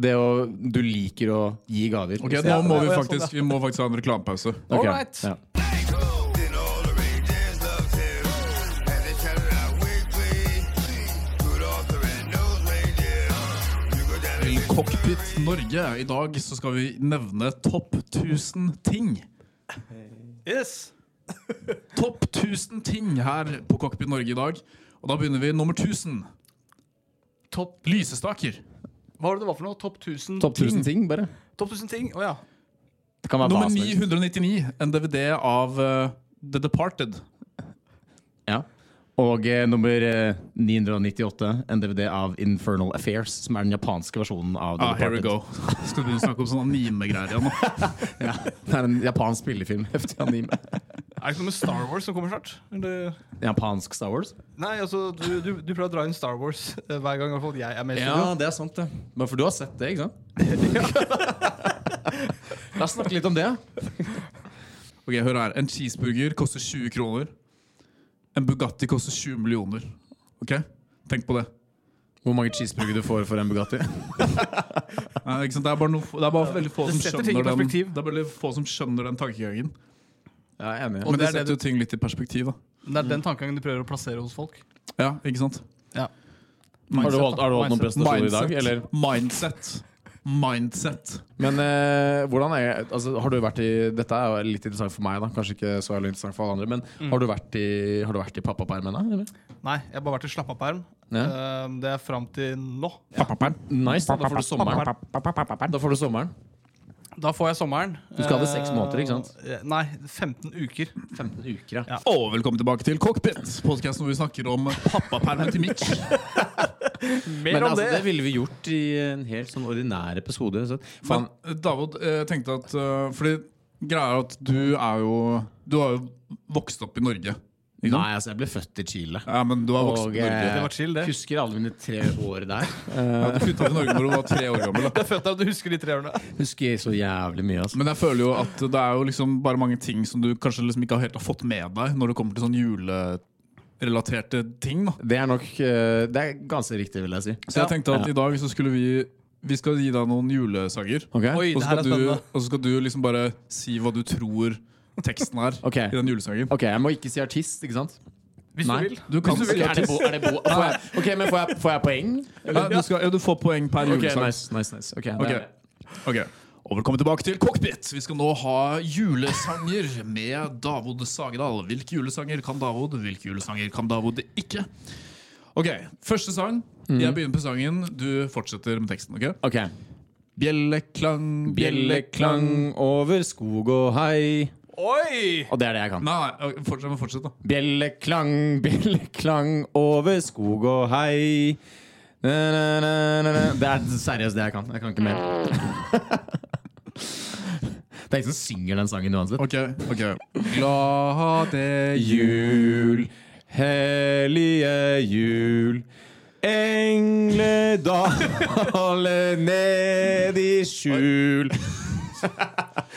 Speaker 3: Det å Du liker å gi gaver.
Speaker 1: Ok, nå
Speaker 3: Ja,
Speaker 1: må
Speaker 2: det
Speaker 1: vi
Speaker 2: var sånn,
Speaker 1: faktisk, vi må faktisk ha en reklamepause.
Speaker 3: ok,
Speaker 2: Alright.
Speaker 3: ja.
Speaker 4: Then all the reindeers loved him, and they shouted out weekly. Rudolph the red-nosed reindeer, you go down in
Speaker 1: Til Cockpit Norge. I dag så skal vi nevne topp 1000 ting.
Speaker 2: yes.
Speaker 1: Topp 1000 ting her på Cockpit Norge i dag. Og da begynner vi nummer 1000.
Speaker 2: Topp,
Speaker 1: Lysestaker.
Speaker 2: hva var det det var for noe? Topp 1000
Speaker 3: Topp 1000 ting, bare.
Speaker 2: Topp 1000 ting? Å ja.
Speaker 3: Det kan være hva
Speaker 1: Mm. Nummer
Speaker 3: som helst.
Speaker 1: 999. En DVD av eh, The Departed.
Speaker 3: Ja. Og eh, nummer eh, 998, en DVD av Infernal Affairs, som er den japanske versjonen av The
Speaker 1: Ah, here we
Speaker 3: Departed.
Speaker 1: go. Skal du begynne å snakke om sånne anime-greier igjen nå?
Speaker 3: Det er en japansk spillefilm. heftig anime.
Speaker 2: Er det ikke noe med Star Wars som kommer snart? Eller?
Speaker 3: Japansk Star Wars?
Speaker 2: Nei, altså, du, du, du prøver å dra inn Star Wars eh, hver gang i hvert fall jeg er med i studio.
Speaker 3: Ja, det er sant, det. Men for du har sett det, ikke sant? La oss snakke litt om det.
Speaker 1: Ok, hør her. En cheeseburger koster 20 kroner. En Bugatti koster 20 millioner. Ok? Tenk på det.
Speaker 3: Hvor mange cheeseburger du får for en Bugatti?
Speaker 1: Nei, ikke sant? Det er bare, noe, det er bare veldig få
Speaker 2: Det
Speaker 1: som
Speaker 2: setter ting i
Speaker 1: skjønner den,
Speaker 2: perspektiv.
Speaker 1: det er veldig få som skjønner den tankegangen.
Speaker 3: Ja, jeg er enig.
Speaker 1: Men
Speaker 2: det
Speaker 1: det
Speaker 2: er det
Speaker 1: setter jo ting litt i perspektiv, da.
Speaker 2: Det er den tankegangen du prøver å plassere hos folk.
Speaker 1: Ja, ikke sant?
Speaker 2: Ja.
Speaker 3: Har du
Speaker 1: Mindset.
Speaker 3: holdt, har du holdt noen
Speaker 2: Mindset.
Speaker 3: presentasjon i dag, eller?
Speaker 1: Mindset. Mindset. Mindset.
Speaker 3: Men eh, hvordan er altså, Har du vært i Dette er jo litt interessant for meg, da. Kanskje ikke så jævlig interessant for alle andre. Men har du vært i, har du vært i pappapermen, da? Eller?
Speaker 2: Nei, jeg har bare vært i slappaperm.
Speaker 3: Ja.
Speaker 2: Eh, Det er fram til nå.
Speaker 3: Nice, da, da får du sommeren. Da får du sommeren.
Speaker 2: Da får jeg sommeren. Du
Speaker 3: skal ha det seks måneder, ikke sant?
Speaker 2: Eh, Nei, 15 uker.
Speaker 3: 15 uker, ja.
Speaker 1: Og velkommen tilbake til Cockpit, podkasten hvor vi snakker om pappapermen til Mitch.
Speaker 2: Mer
Speaker 3: Men
Speaker 2: om
Speaker 3: altså, det
Speaker 2: det!
Speaker 3: ville vi gjort i en helt sånn ordinær episode. Så.
Speaker 1: Men
Speaker 3: Faen,
Speaker 1: eh, David, eh, jeg tenkte at eh, Fordi greia er at du er jo Du har jo vokst opp i Norge. Ikke sant?
Speaker 3: nei, altså, jeg ble født i Chile.
Speaker 1: Ja, men du har vokst opp
Speaker 3: Og eh,
Speaker 1: i Norge.
Speaker 2: Det var chill, det.
Speaker 3: husker alle mine tre år der.
Speaker 1: Ja, du flytta til Norge når du var tre år gammel. Da.
Speaker 2: Jeg følte at du husker de tre årene.
Speaker 3: Husker så jævlig mye, altså.
Speaker 1: Men jeg føler jo at det er jo liksom bare mange ting som du kanskje liksom ikke har helt har fått med deg når det kommer til sånn julerelaterte ting. da
Speaker 3: Det er nok eh, Det er ganske riktig, vil jeg si.
Speaker 1: Så jeg tenkte at i dag så skulle vi Vi skal gi deg noen julesanger.
Speaker 3: Ok?
Speaker 2: Oi,
Speaker 1: Og
Speaker 2: det
Speaker 1: så skal,
Speaker 2: her er
Speaker 1: du,
Speaker 2: spennende.
Speaker 1: og så skal du liksom bare si hva du tror teksten er
Speaker 3: Ok.
Speaker 1: i den julesangen.
Speaker 3: ok, jeg må ikke si artist, ikke sant?
Speaker 2: Hvis
Speaker 3: Nei.
Speaker 2: du vil.
Speaker 1: Du kan si
Speaker 3: Er det bo, er det bo, får jeg, ok, men får jeg, får jeg poeng?
Speaker 1: Nei, du, skal, ja, du får poeng per
Speaker 3: Ok,
Speaker 1: julesang.
Speaker 3: nice, nice, nice. sånn. Ok, det er-
Speaker 1: Ok. Ok. Og velkommen tilbake til Cockpit. Vi skal nå ha julesanger med Davod Sagedal. Hvilke julesanger kan Davod, hvilke julesanger kan Davod ikke? Ok, Første sang. Jeg begynner på sangen, du fortsetter med teksten. ok?
Speaker 3: ok.
Speaker 1: Bjelleklang, bjelleklang
Speaker 3: Bjelleklang over skog og hei.
Speaker 2: Oi!
Speaker 3: Og det er det jeg kan.
Speaker 1: Nei, nei, ok, fortsett, men fortsett da
Speaker 3: Bjelleklang, bjelleklang over skog og hei. Na, na, na, na, na. Det er seriøst det jeg kan. Jeg kan ikke mer. Det er ingen som synger den sangen uansett.
Speaker 1: Ok, ok Glade
Speaker 3: Jul, hellige jul, engler daler ned i skjul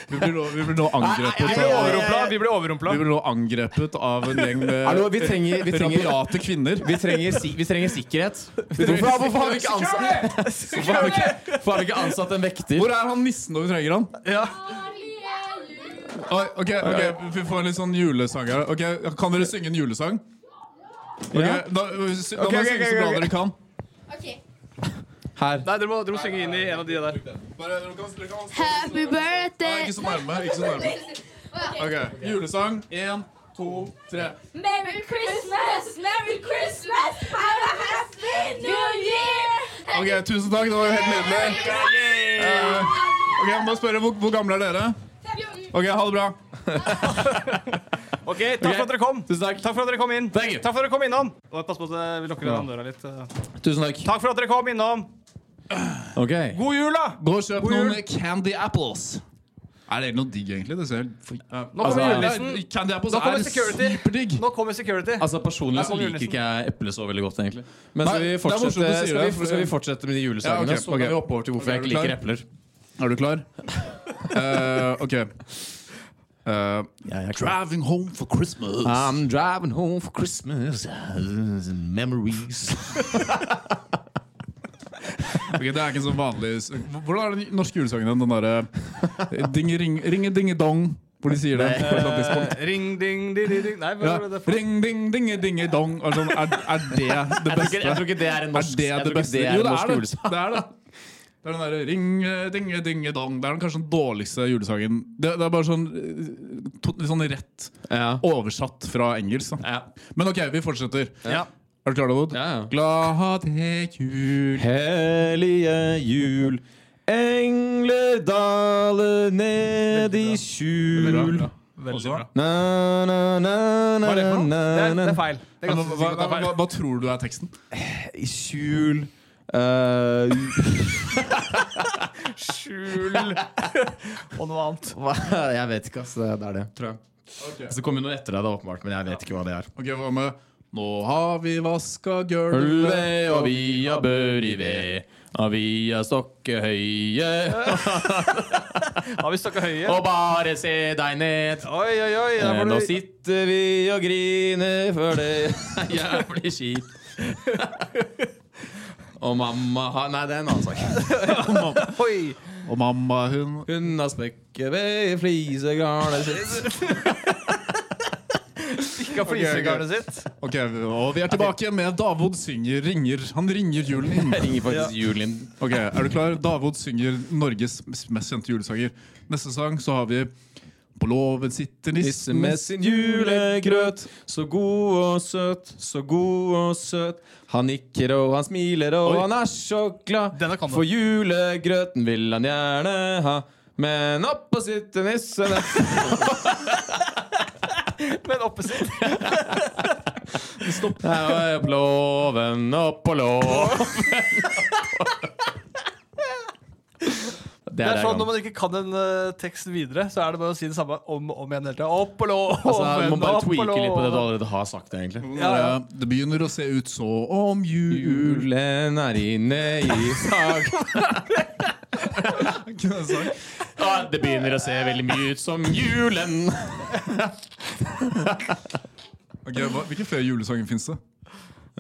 Speaker 1: Vi blir nå, vi blir nå
Speaker 3: Nei,
Speaker 1: angrepet
Speaker 3: nei, nei,
Speaker 1: av
Speaker 3: nei.
Speaker 2: Overrumpla, vi ble overrumpla.
Speaker 1: vi blir nå angrepet av en gjeng med
Speaker 3: Hallo, vi trenger, vi trenger,
Speaker 1: rabiate kvinner.
Speaker 3: vi trenger, si- vi trenger sikkerhet. Hvorfor, har- hvorfor har vi ikke ansatt, hvorfor har vi ikke, hvorfor har vi ikke ansatt en vekter?
Speaker 1: Hvor er han nissen når vi trenger han?
Speaker 2: Ja.
Speaker 1: Oi, ok, ok, Vi får en litt sånn julesang her. Ok, Kan dere synge en julesang? Ok,
Speaker 3: Ja.
Speaker 1: Da, da må dere synge
Speaker 2: ok,
Speaker 1: så
Speaker 2: ok,
Speaker 1: bra
Speaker 2: ok.
Speaker 1: dere kan.
Speaker 5: Okay.
Speaker 3: Her.
Speaker 2: Nei, dere må, dere må synge inn i en av de der.
Speaker 1: Bare, dere kan, dere kan
Speaker 5: Happy
Speaker 1: Nei,
Speaker 5: birthday!
Speaker 1: ikke så nærme. ikke så nærme Ok, Julesang. Én, to, tre.
Speaker 5: Merry Christmas! Merry Christmas! Have a happy new year!
Speaker 1: Ok, Tusen takk. Det var jo helt nydelig. Eh, ok, jeg må spørre, hvor, hvor gamle er dere? Ok, Ha det bra.
Speaker 2: Ok, Takk for at dere kom.
Speaker 3: Tusen takk.
Speaker 2: Takk for at dere kom inn.
Speaker 3: Thank you.
Speaker 2: Takk for at dere kom innom. Og pass på at vi lukker den døra litt. eh. Takk
Speaker 3: Tusen takk.
Speaker 2: for at dere kom innom.
Speaker 3: Ok.
Speaker 2: God jul, da!
Speaker 1: Gå og kjøp
Speaker 2: God jul.
Speaker 1: noen Candy Apples. Er det noe digg, egentlig? Det ser helt for...
Speaker 2: Nå kommer
Speaker 3: Altså,
Speaker 2: julenissen.
Speaker 1: Candy Apples
Speaker 2: Nå kommer
Speaker 1: er
Speaker 2: security.
Speaker 1: superdigg.
Speaker 2: Nå kommer security.
Speaker 3: Altså Personlig så
Speaker 2: Nei,
Speaker 3: liker ikke jeg eple så veldig godt, egentlig. Men
Speaker 1: Nei,
Speaker 3: skal
Speaker 1: det
Speaker 3: vi
Speaker 1: er morsomt
Speaker 3: fortsette,
Speaker 1: du sier
Speaker 3: skal
Speaker 1: det,
Speaker 3: vi,
Speaker 1: for-
Speaker 3: skal vi fortsette med de
Speaker 1: Ja,
Speaker 3: julesangene,
Speaker 1: ok,
Speaker 3: så kan
Speaker 1: ok.
Speaker 3: vi oppover til
Speaker 1: Ok,
Speaker 3: hvorfor jeg
Speaker 1: er du
Speaker 3: ikke
Speaker 1: klar?
Speaker 3: liker epler.
Speaker 1: Er du klar? Eh, ok. Eh, Ah. Driving home for Christmas.
Speaker 3: I'm driving home for Christmas Memories
Speaker 1: Ok, det er ikke så vanlig Hvordan er den norske julesangen? Den derre eh, ding, ring, Ringe dinge dong, hvor de sier det. på et eller annet tidspunkt.
Speaker 2: Eh, Ring, ding, di, di, ding. Nei, hva
Speaker 1: Ja.
Speaker 2: var det for?
Speaker 1: Ring, ding, dinge, dinge, dong. Altså, er, er det det beste?
Speaker 3: Jeg tror ikke det er en norsk,
Speaker 1: er
Speaker 3: jeg
Speaker 1: det
Speaker 3: tror
Speaker 1: det
Speaker 3: ikke
Speaker 1: beste?
Speaker 3: det er
Speaker 1: jo,
Speaker 3: en
Speaker 1: det
Speaker 3: norsk
Speaker 1: er det.
Speaker 3: julesang.
Speaker 1: det er det. Det er den derre ring, eh, dinge, dinge, dong. Det er den kanskje den dårligste julesangen. Det, det er bare sånn, eh, to, litt sånn rett
Speaker 3: Ja.
Speaker 1: oversatt fra engelsk. Da.
Speaker 3: Ja.
Speaker 1: Men OK, vi fortsetter.
Speaker 2: Ja.
Speaker 1: Er du klar, David?
Speaker 3: Ja, ja.
Speaker 1: Glade jul
Speaker 3: Hellige jul Engler daler ned i skjul
Speaker 1: Ja.
Speaker 2: Veldig bra.
Speaker 3: Na, na, na, na,
Speaker 2: Hva er det for
Speaker 3: na,
Speaker 2: noe? Det er, det
Speaker 3: na.
Speaker 2: er feil. Det er
Speaker 1: Men,
Speaker 2: ganske
Speaker 1: hva, hva,
Speaker 2: sikkert det er
Speaker 1: hva,
Speaker 2: feil.
Speaker 1: hva tror du er teksten?
Speaker 3: I skjul eh,
Speaker 2: Skjul og noe annet.
Speaker 3: hva- Jeg vet ikke, ass Det er det, tror jeg Så kommer noe etter deg da, åpenbart Men jeg vet ikke hva det er
Speaker 1: Ok, hva med Nå har vi vaska
Speaker 3: Ulve
Speaker 1: gulvet
Speaker 3: og via bør i ved Og via stokke høye
Speaker 2: Har vi snakka høye?
Speaker 3: Og bare se deg ned
Speaker 2: Oi, oi, oi. der
Speaker 3: Eh,
Speaker 2: var
Speaker 3: Nå
Speaker 2: det-
Speaker 3: sitter vi og griner For det er jævlig kjipt Og mamma har Nei, det er en annen sak
Speaker 2: Oi.
Speaker 1: Og mamma, hun
Speaker 3: Hun har spekket ved flisegarnet sitt
Speaker 2: Ikke av flisegarnet sitt.
Speaker 1: Ok, Og vi er tilbake med Davod synger ringer. Han ringer julen inn.
Speaker 3: Jeg ringer faktisk Julin
Speaker 1: Ok, Er du klar? Davod synger Norges mest kjente julesanger. Neste sang så har vi På låven sitter
Speaker 3: Nisse
Speaker 1: nissen
Speaker 3: med sin julegrøt Så god og søt, så god og søt Han nikker og han smiler og
Speaker 1: Oi.
Speaker 3: han er så glad
Speaker 2: Denne kan du.
Speaker 3: For julegrøten vil han gjerne ha Men oppå sitter nissen
Speaker 2: Men oppe sitt.
Speaker 3: Her på låven, oppå låven
Speaker 2: Det
Speaker 3: Det er
Speaker 2: er
Speaker 3: det
Speaker 2: sånn
Speaker 3: jeg
Speaker 2: Når
Speaker 3: kan
Speaker 2: man ikke kan en eh, tekst videre, så er det bare å si det samme om og om igjen hele tida. Opp og lå,
Speaker 3: Altså,
Speaker 2: opp
Speaker 3: man må
Speaker 2: og
Speaker 3: bare
Speaker 2: opp og
Speaker 3: tweake
Speaker 2: lå.
Speaker 3: litt på det du allerede har sagt, egentlig.
Speaker 2: Ja, ja.
Speaker 1: Det begynner å se ut så om jul
Speaker 3: Julen er inne i sag. Ah, det begynner å se veldig mye ut som julen.
Speaker 1: Ok, hva, Hvilke flere julesanger fins det?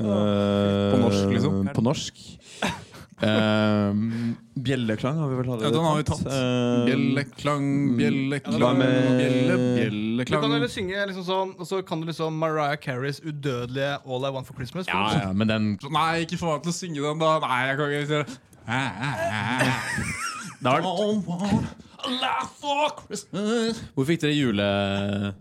Speaker 3: På
Speaker 1: norsk, liksom?
Speaker 3: Eh, På norsk. Ehm, bjelleklang har vi vel allerede
Speaker 1: Ja, den har vi tatt.
Speaker 3: Ehm,
Speaker 1: Bjelleklang,
Speaker 3: Hva
Speaker 1: bjelleklang,
Speaker 3: med-
Speaker 1: bjelle,
Speaker 2: Du kan
Speaker 1: bjelleklang.
Speaker 2: heller synge liksom sånn, og så kan du liksom Mariah Careys udødelige All I Want for Christmas.
Speaker 3: ja, ja, men den
Speaker 1: Nei, ikke få meg til å synge den, da. Nei, jeg kan ikke si det. Don't want a laugh for Christmas
Speaker 3: Hvor fikk dere jule...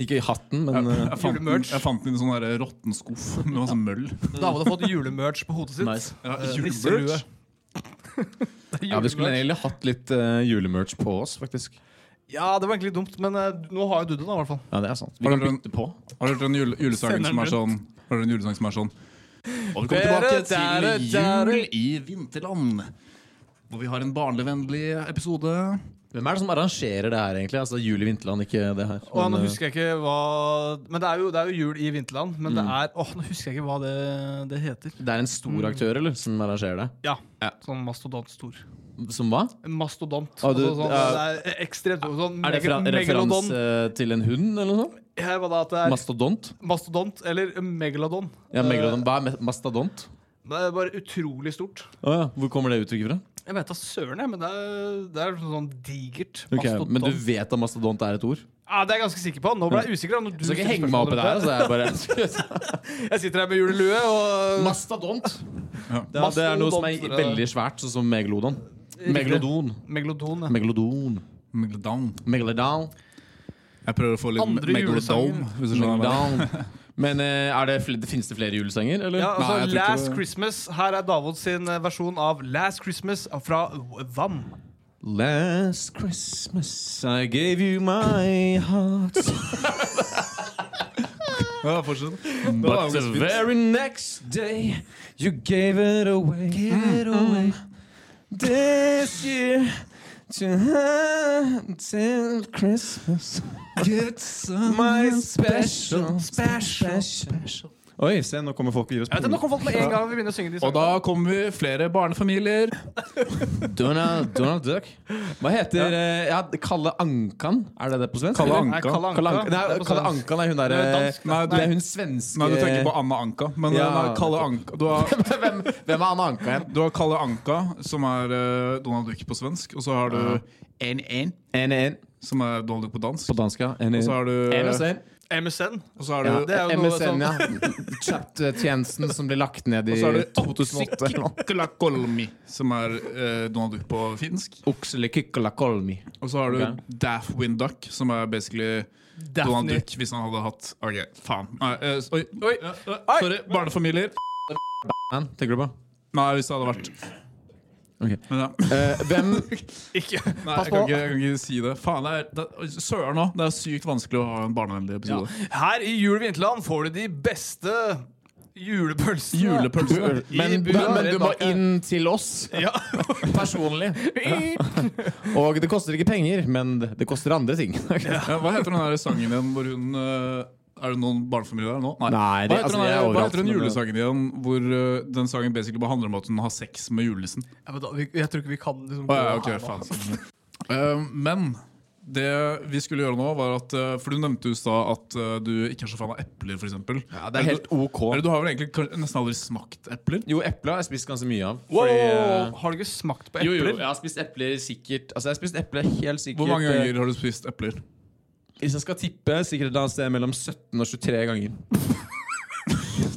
Speaker 3: Ikke i hatten, men eh,
Speaker 1: Jeg fant, den, jeg fant den i en sånn der råtten skuff med masse møll.
Speaker 2: David har fått julemerch på hodet sitt.
Speaker 3: nice.
Speaker 1: Ja,
Speaker 2: Eh,
Speaker 1: julemerch.
Speaker 2: nisselue. Det er
Speaker 3: Ja, Vi skulle
Speaker 2: julemerch.
Speaker 3: egentlig hatt litt eh, julemerch på oss, faktisk.
Speaker 2: ja, det var egentlig dumt, men eh, nå har jo du det, da, i hvert fall.
Speaker 3: Ja, det er sant. Vi
Speaker 1: Har
Speaker 3: kan
Speaker 1: du den-
Speaker 3: bytte på.
Speaker 1: Har du hørt den jule, julesangen
Speaker 2: Sender
Speaker 1: som er
Speaker 2: den
Speaker 1: sånn Har du hørt den julesangen som er sånn Og vi kommer tilbake
Speaker 3: Dere,
Speaker 1: til
Speaker 3: dere,
Speaker 1: jul i vinterland. Hvor vi har en barnevennlig episode.
Speaker 3: Hvem er det som arrangerer det her, egentlig? Altså Julie Vinterland, ikke det her.
Speaker 2: Og nå
Speaker 3: Men, eh,
Speaker 2: husker jeg ikke hva Men det er jo, det er jo jul i vinterland. Men det
Speaker 3: Mm.
Speaker 2: er Åh, nå husker jeg ikke hva det, det heter.
Speaker 3: det er en stor
Speaker 1: Mm.
Speaker 3: aktør eller, som arrangerer det?
Speaker 2: Ja. Sånn mastodontstor.
Speaker 3: Som hva?
Speaker 2: En Mastodont.
Speaker 3: Å, du-
Speaker 2: altså sånn,
Speaker 3: ja.
Speaker 2: det er ekstremt sånn
Speaker 3: Er det fra,
Speaker 2: mega- megalodon.
Speaker 3: referanse til en hund eller noe sånt?
Speaker 2: Ja, hva da, at det er
Speaker 3: Mastodont?
Speaker 2: mastodont eller megalodon.
Speaker 3: Ja, megalodon. Hva er me- mastodont?
Speaker 2: Eh, Det er bare utrolig stort.
Speaker 3: Å ja. Hvor kommer det uttrykket fra?
Speaker 2: Jeg vet da søren, jeg, men det er, det er sånn digert.
Speaker 3: Ok,
Speaker 2: mastodont.
Speaker 3: Men du vet at mastodont er et ord?
Speaker 2: Ja, det er jeg ganske sikker på. Nå ble jeg usikker. da, Når du
Speaker 3: Du skal ikke
Speaker 2: stilte
Speaker 3: henge meg opp i det her.
Speaker 2: spørsmålet
Speaker 3: Altså, jeg er bare...
Speaker 2: rundt det. Jeg sitter her med julelue og
Speaker 3: Mastodont. Ja, det er noe som er
Speaker 2: eh.
Speaker 3: veldig svært, sånn som megalodon. Megalodon.
Speaker 2: Megalodon. Ja.
Speaker 3: Megalodon.
Speaker 1: Megalodon.
Speaker 3: Megalodon.
Speaker 1: Jeg prøver å få litt
Speaker 2: Andre
Speaker 1: megalodome.
Speaker 2: julesanger.
Speaker 1: Hvis du skjønner hva jeg mener.
Speaker 3: Megalodon. Men eh, er det, fl- det finnes det flere julesanger, eller?
Speaker 2: Ja, altså,
Speaker 1: Nei, jeg tror ikke
Speaker 2: Last
Speaker 1: det-
Speaker 2: Christmas. Her er Davod sin eh, versjon av Last Christmas fra Vam.
Speaker 3: Last Christmas I gave you my heart
Speaker 1: Ja, fortsett. Det var
Speaker 3: But the
Speaker 1: ganske fint.
Speaker 3: very next day You gave it away Mm. This year To until Christmas My special Special, Oi, se, nå kommer folk og gir oss
Speaker 2: Jeg vet, ikke, nå kommer folk med en gang vi begynner å synge de
Speaker 1: Og
Speaker 2: sangene.
Speaker 1: da kommer vi flere barnefamilier.
Speaker 3: Donald, Donald Duck Hva heter, eh, ja, Kalle Ankan Er det det på svensk?
Speaker 1: Kalle
Speaker 3: eller?
Speaker 1: Ankan.
Speaker 2: Nei, Kalle Anka. Det
Speaker 3: Kalle Ankan, nei,
Speaker 2: er sånn på
Speaker 3: Kalle
Speaker 2: svensk.
Speaker 3: Ankan er hun der
Speaker 2: Hun er
Speaker 3: eh,
Speaker 2: dansk, da.
Speaker 1: Nei,
Speaker 3: Det er hun svenske
Speaker 1: Nei, du tenker på Anna Anka. Men eh,
Speaker 3: Ja.
Speaker 1: nei, Kalle Anka du har,
Speaker 3: hvem, hvem er Anna Anka igjen?
Speaker 1: du har Kalle Anka, som er eh, Donald Duck på svensk. Og så har du N1,
Speaker 3: En en
Speaker 1: som er Donald Duck på dansk.
Speaker 3: på dansk, ja. En
Speaker 1: Og så har du,
Speaker 3: en og så en.
Speaker 2: MSN.
Speaker 1: og så har
Speaker 3: Ja.
Speaker 1: du
Speaker 2: det er jo noe
Speaker 3: MSN, ja. sånn Chat-tjenesten som ble lagt ned i
Speaker 1: Og så er det
Speaker 3: 2008 eller noe.
Speaker 1: Oxykikkolakolmi, som er eh, Donald Duck på finsk.
Speaker 3: Oxelekykolakolmi.
Speaker 1: Og så har du
Speaker 3: Ok.
Speaker 1: Daffwind Duck, som er basically Donald Duck hvis han hadde hatt OK, faen. Nei, eh, s- oi, oi, eh, eh, sorry. Barnefamilier.
Speaker 3: Hæ? Tenker du på?
Speaker 1: Nei, hvis det hadde vært
Speaker 3: Ok.
Speaker 1: Men ja.
Speaker 3: Eh, hvem
Speaker 2: Ikke.
Speaker 1: Nei, jeg kan,
Speaker 2: Pass på.
Speaker 1: ikke, jeg kan ikke si det. Faen, det er, det, er- søren òg. Det er sykt vanskelig å ha en barnevennlig episode.
Speaker 2: Her i Jul i Vinterland får du de beste julepølsene.
Speaker 1: Julepølse.
Speaker 3: men,
Speaker 2: I bua,
Speaker 3: men du må
Speaker 2: rett bak.
Speaker 3: inn til oss
Speaker 2: Ja.
Speaker 3: personlig. Og det koster ikke penger, men det koster andre ting.
Speaker 1: Ja, hva heter den der sangen igjen hvor hun eh, Er det noen barnefamilier der nå?
Speaker 3: Nei, det-
Speaker 1: hva, heter
Speaker 3: altså,
Speaker 1: den,
Speaker 3: jeg er
Speaker 1: der- hva
Speaker 3: overalt,
Speaker 1: heter den
Speaker 3: men-
Speaker 1: julesangen igjen hvor eh, den sangen basically bare handler om at hun har sex med julenissen?
Speaker 2: Ja, men da, vi, jeg tror ikke vi kan liksom
Speaker 1: Å, ja,
Speaker 2: gå
Speaker 1: ok,
Speaker 2: her nå.
Speaker 1: faen. Eh, men det vi skulle gjøre nå, var at eh, For du nevnte jo i stad at eh, du ikke er så fan av epler, f.eks. Ja,
Speaker 3: Det er helt OK.
Speaker 1: Eller du har vel egentlig kan- nesten aldri smakt epler?
Speaker 3: Jo, epler har jeg spist ganske mye av.
Speaker 2: Wow,
Speaker 3: Fordi, eh,
Speaker 2: Har du ikke smakt på
Speaker 3: jo, jo,
Speaker 2: epler?
Speaker 3: jeg har spist epler sikkert Altså, jeg har spist epler helt sikkert
Speaker 1: Hvor mange
Speaker 3: eh,
Speaker 1: ganger har du spist epler?
Speaker 3: Hvis jeg skal tippe, sikkert et eller annet sted mellom 17 og 23 ganger.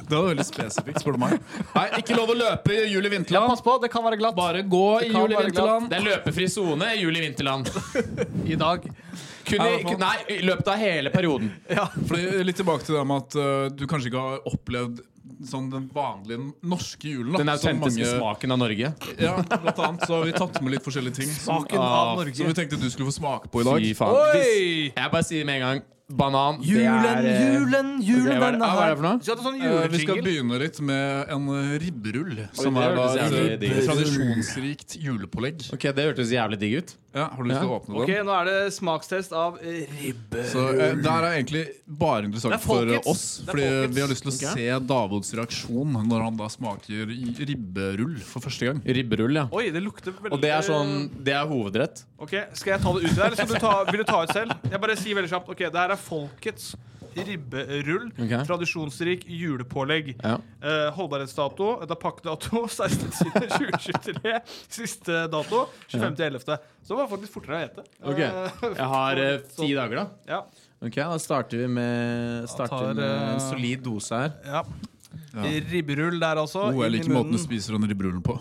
Speaker 1: Det var veldig spesifikt, spør du meg. Nei, ikke lov å løpe i juli
Speaker 2: Ja,
Speaker 1: vinterland.
Speaker 2: pass på, det kan være glatt.
Speaker 1: Bare gå i
Speaker 2: kan
Speaker 1: juli
Speaker 2: være
Speaker 1: vinterland.
Speaker 3: Det er løpefri sone i juli vinterland.
Speaker 2: I dag.
Speaker 3: Kun i, kun, nei, i løpet av hele perioden.
Speaker 1: Fordi, litt tilbake til det med at eh, du kanskje ikke har opplevd sånn den vanlige norske julen. da,
Speaker 3: Den
Speaker 1: som
Speaker 3: autentiske smaken av Norge.
Speaker 1: Ja, blant annet så har vi tatt med litt forskjellige ting som,
Speaker 2: Smaken av
Speaker 1: som vi
Speaker 2: Norge.
Speaker 1: tenkte du skulle få smake på i dag.
Speaker 3: Hvis,
Speaker 2: Oi!
Speaker 3: jeg bare sier med en gang banan. det
Speaker 2: Julen,
Speaker 3: er, eh,
Speaker 2: julen, julen
Speaker 3: det er- hva er det-
Speaker 2: denne
Speaker 3: hva er det for noe?
Speaker 2: Så jeg hadde sånn
Speaker 1: Eh, vi skal
Speaker 2: julejingle.
Speaker 1: begynne litt med en eh, ribberull, som
Speaker 3: det
Speaker 1: er da
Speaker 3: hørtes jævlig
Speaker 1: et eh,
Speaker 3: digg ut.
Speaker 1: tradisjonsrikt julepålegg.
Speaker 3: Ok, Det hørtes jævlig digg ut.
Speaker 1: Ja, har du lyst til å åpne
Speaker 2: Ok,
Speaker 1: den?
Speaker 2: nå er det smakstest av eh, ribbe.
Speaker 1: Så eh, Det her er egentlig bare
Speaker 2: Det er
Speaker 1: interessant for
Speaker 2: folkets.
Speaker 1: oss.
Speaker 2: Det er
Speaker 1: Fordi
Speaker 2: folkets.
Speaker 1: vi har lyst til å
Speaker 3: Ok.
Speaker 1: se Davids reaksjon når han da smaker ribberull for første gang.
Speaker 3: Ribberull, ja.
Speaker 2: Oi, det lukter veldig
Speaker 3: Og det er sånn Det er hovedrett.
Speaker 2: Ok, Skal jeg ta det ut der, eller skal du ta, vil du ta ut selv? Jeg bare sier veldig kjapt. Ok, Det her er folkets ribberull.
Speaker 3: Ok.
Speaker 2: Tradisjonsrik julepålegg.
Speaker 3: Ja.
Speaker 2: Eh, holdbarhetsdato, da pakkedato 16.7.2023. Siste dato 25.11. Så det var faktisk fortere å gjete.
Speaker 3: Ok.
Speaker 2: Eh,
Speaker 3: Jeg har eh, ti dager, da.
Speaker 2: ja,
Speaker 3: Ok, Da starter vi med, starter
Speaker 2: tar,
Speaker 3: med en
Speaker 2: eh,
Speaker 3: solid dose her.
Speaker 2: ja. Ribberull der, altså.
Speaker 1: Oh, jeg
Speaker 2: inn i
Speaker 1: liker måten du
Speaker 2: munnen.
Speaker 1: spiser den ribberullen på.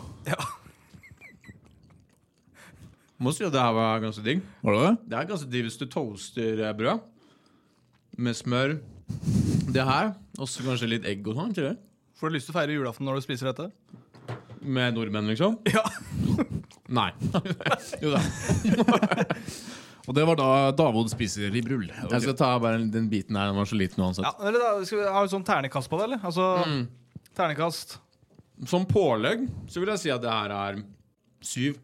Speaker 3: Må si at det her var ganske digg.
Speaker 1: Var det det?
Speaker 3: Det er ganske digg hvis du toaster eh, brød med smør. Det her, og så kanskje litt egg og sånn. ikke det?
Speaker 2: Får du lyst til å feire julaften når du spiser dette?
Speaker 3: Med nordmenn, liksom?
Speaker 2: Ja.
Speaker 3: Nei. jo da.
Speaker 1: Og det var da Davod spiser ribberull.
Speaker 3: Jeg skal ta bare den biten her. Den var så liten uansett.
Speaker 2: ja eller da, skal vi ha en sånn ternekast på det, eller? Altså, Ternekast.
Speaker 3: Som pålegg så vil jeg si at det her er syv.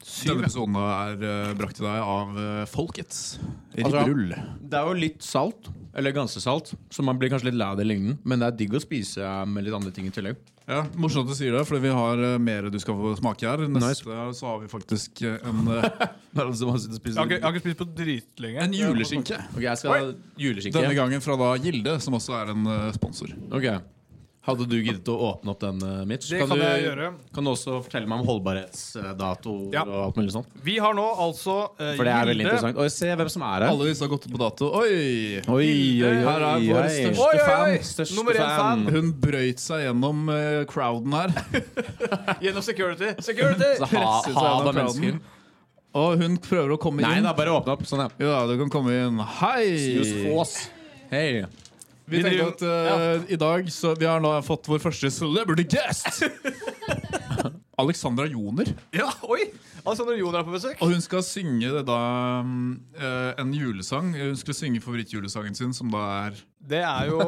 Speaker 1: Denne episoden er eh, brakt til deg av eh, Folkets
Speaker 3: Altså-
Speaker 1: Ribberull.
Speaker 3: Det er jo litt salt, eller ganske salt, så man blir kanskje litt lei av det lignende. Men det er digg å spise eh, med litt andre ting i tillegg.
Speaker 1: Ja, Morsomt at du sier det, fordi vi har eh, mer du skal få smake her. Neste så har vi faktisk eh, en, eh,
Speaker 2: Jeg har ikke, jeg har ikke spist på dritlenge.
Speaker 1: en juleskinke.
Speaker 3: Ok, jeg skal ha juleskinke.
Speaker 1: Denne gangen fra da Gilde, som også er en eh, sponsor.
Speaker 3: Ok. Hadde du giddet å åpne opp den, eh, Mitch?
Speaker 2: Det kan
Speaker 3: du,
Speaker 2: jeg gjøre.
Speaker 3: Kan du også fortelle meg om holdbarhetsdato
Speaker 2: Ja.
Speaker 3: og alt mulig sånt?
Speaker 2: Vi har nå altså eh,
Speaker 3: For det er veldig
Speaker 2: Gilde-
Speaker 3: interessant. Oi, se hvem som er her.
Speaker 1: Alle disse har gått ut på dato. Oi!
Speaker 3: Oi, oi, oi,
Speaker 1: Her er vår
Speaker 3: oi.
Speaker 1: største
Speaker 2: Oi, oi, oi.
Speaker 1: fan.
Speaker 3: Største
Speaker 2: Nummer én fan.
Speaker 1: Hun brøyt seg gjennom eh, crowden her.
Speaker 2: Gjennom security. Security!
Speaker 3: Så ha,
Speaker 1: Presset seg
Speaker 3: ha
Speaker 1: gjennom
Speaker 3: av mennesker.
Speaker 1: crowden. Og hun prøver å komme
Speaker 3: Nei
Speaker 1: inn.
Speaker 3: da, bare åpne opp. Sånn, ja.
Speaker 1: Jo da, du kan komme inn. Hei!
Speaker 3: Hei.
Speaker 1: Vi tenkte at eh, i dag så Vi har nå fått vår første celebrity guest. Alexandra Joner.
Speaker 2: Ja, oi! Alexander Jon er på besøk.
Speaker 1: Og hun skal synge det da mm, eh, en julesang. Hun skulle synge favorittjulesangen sin, som da er
Speaker 2: Det er jo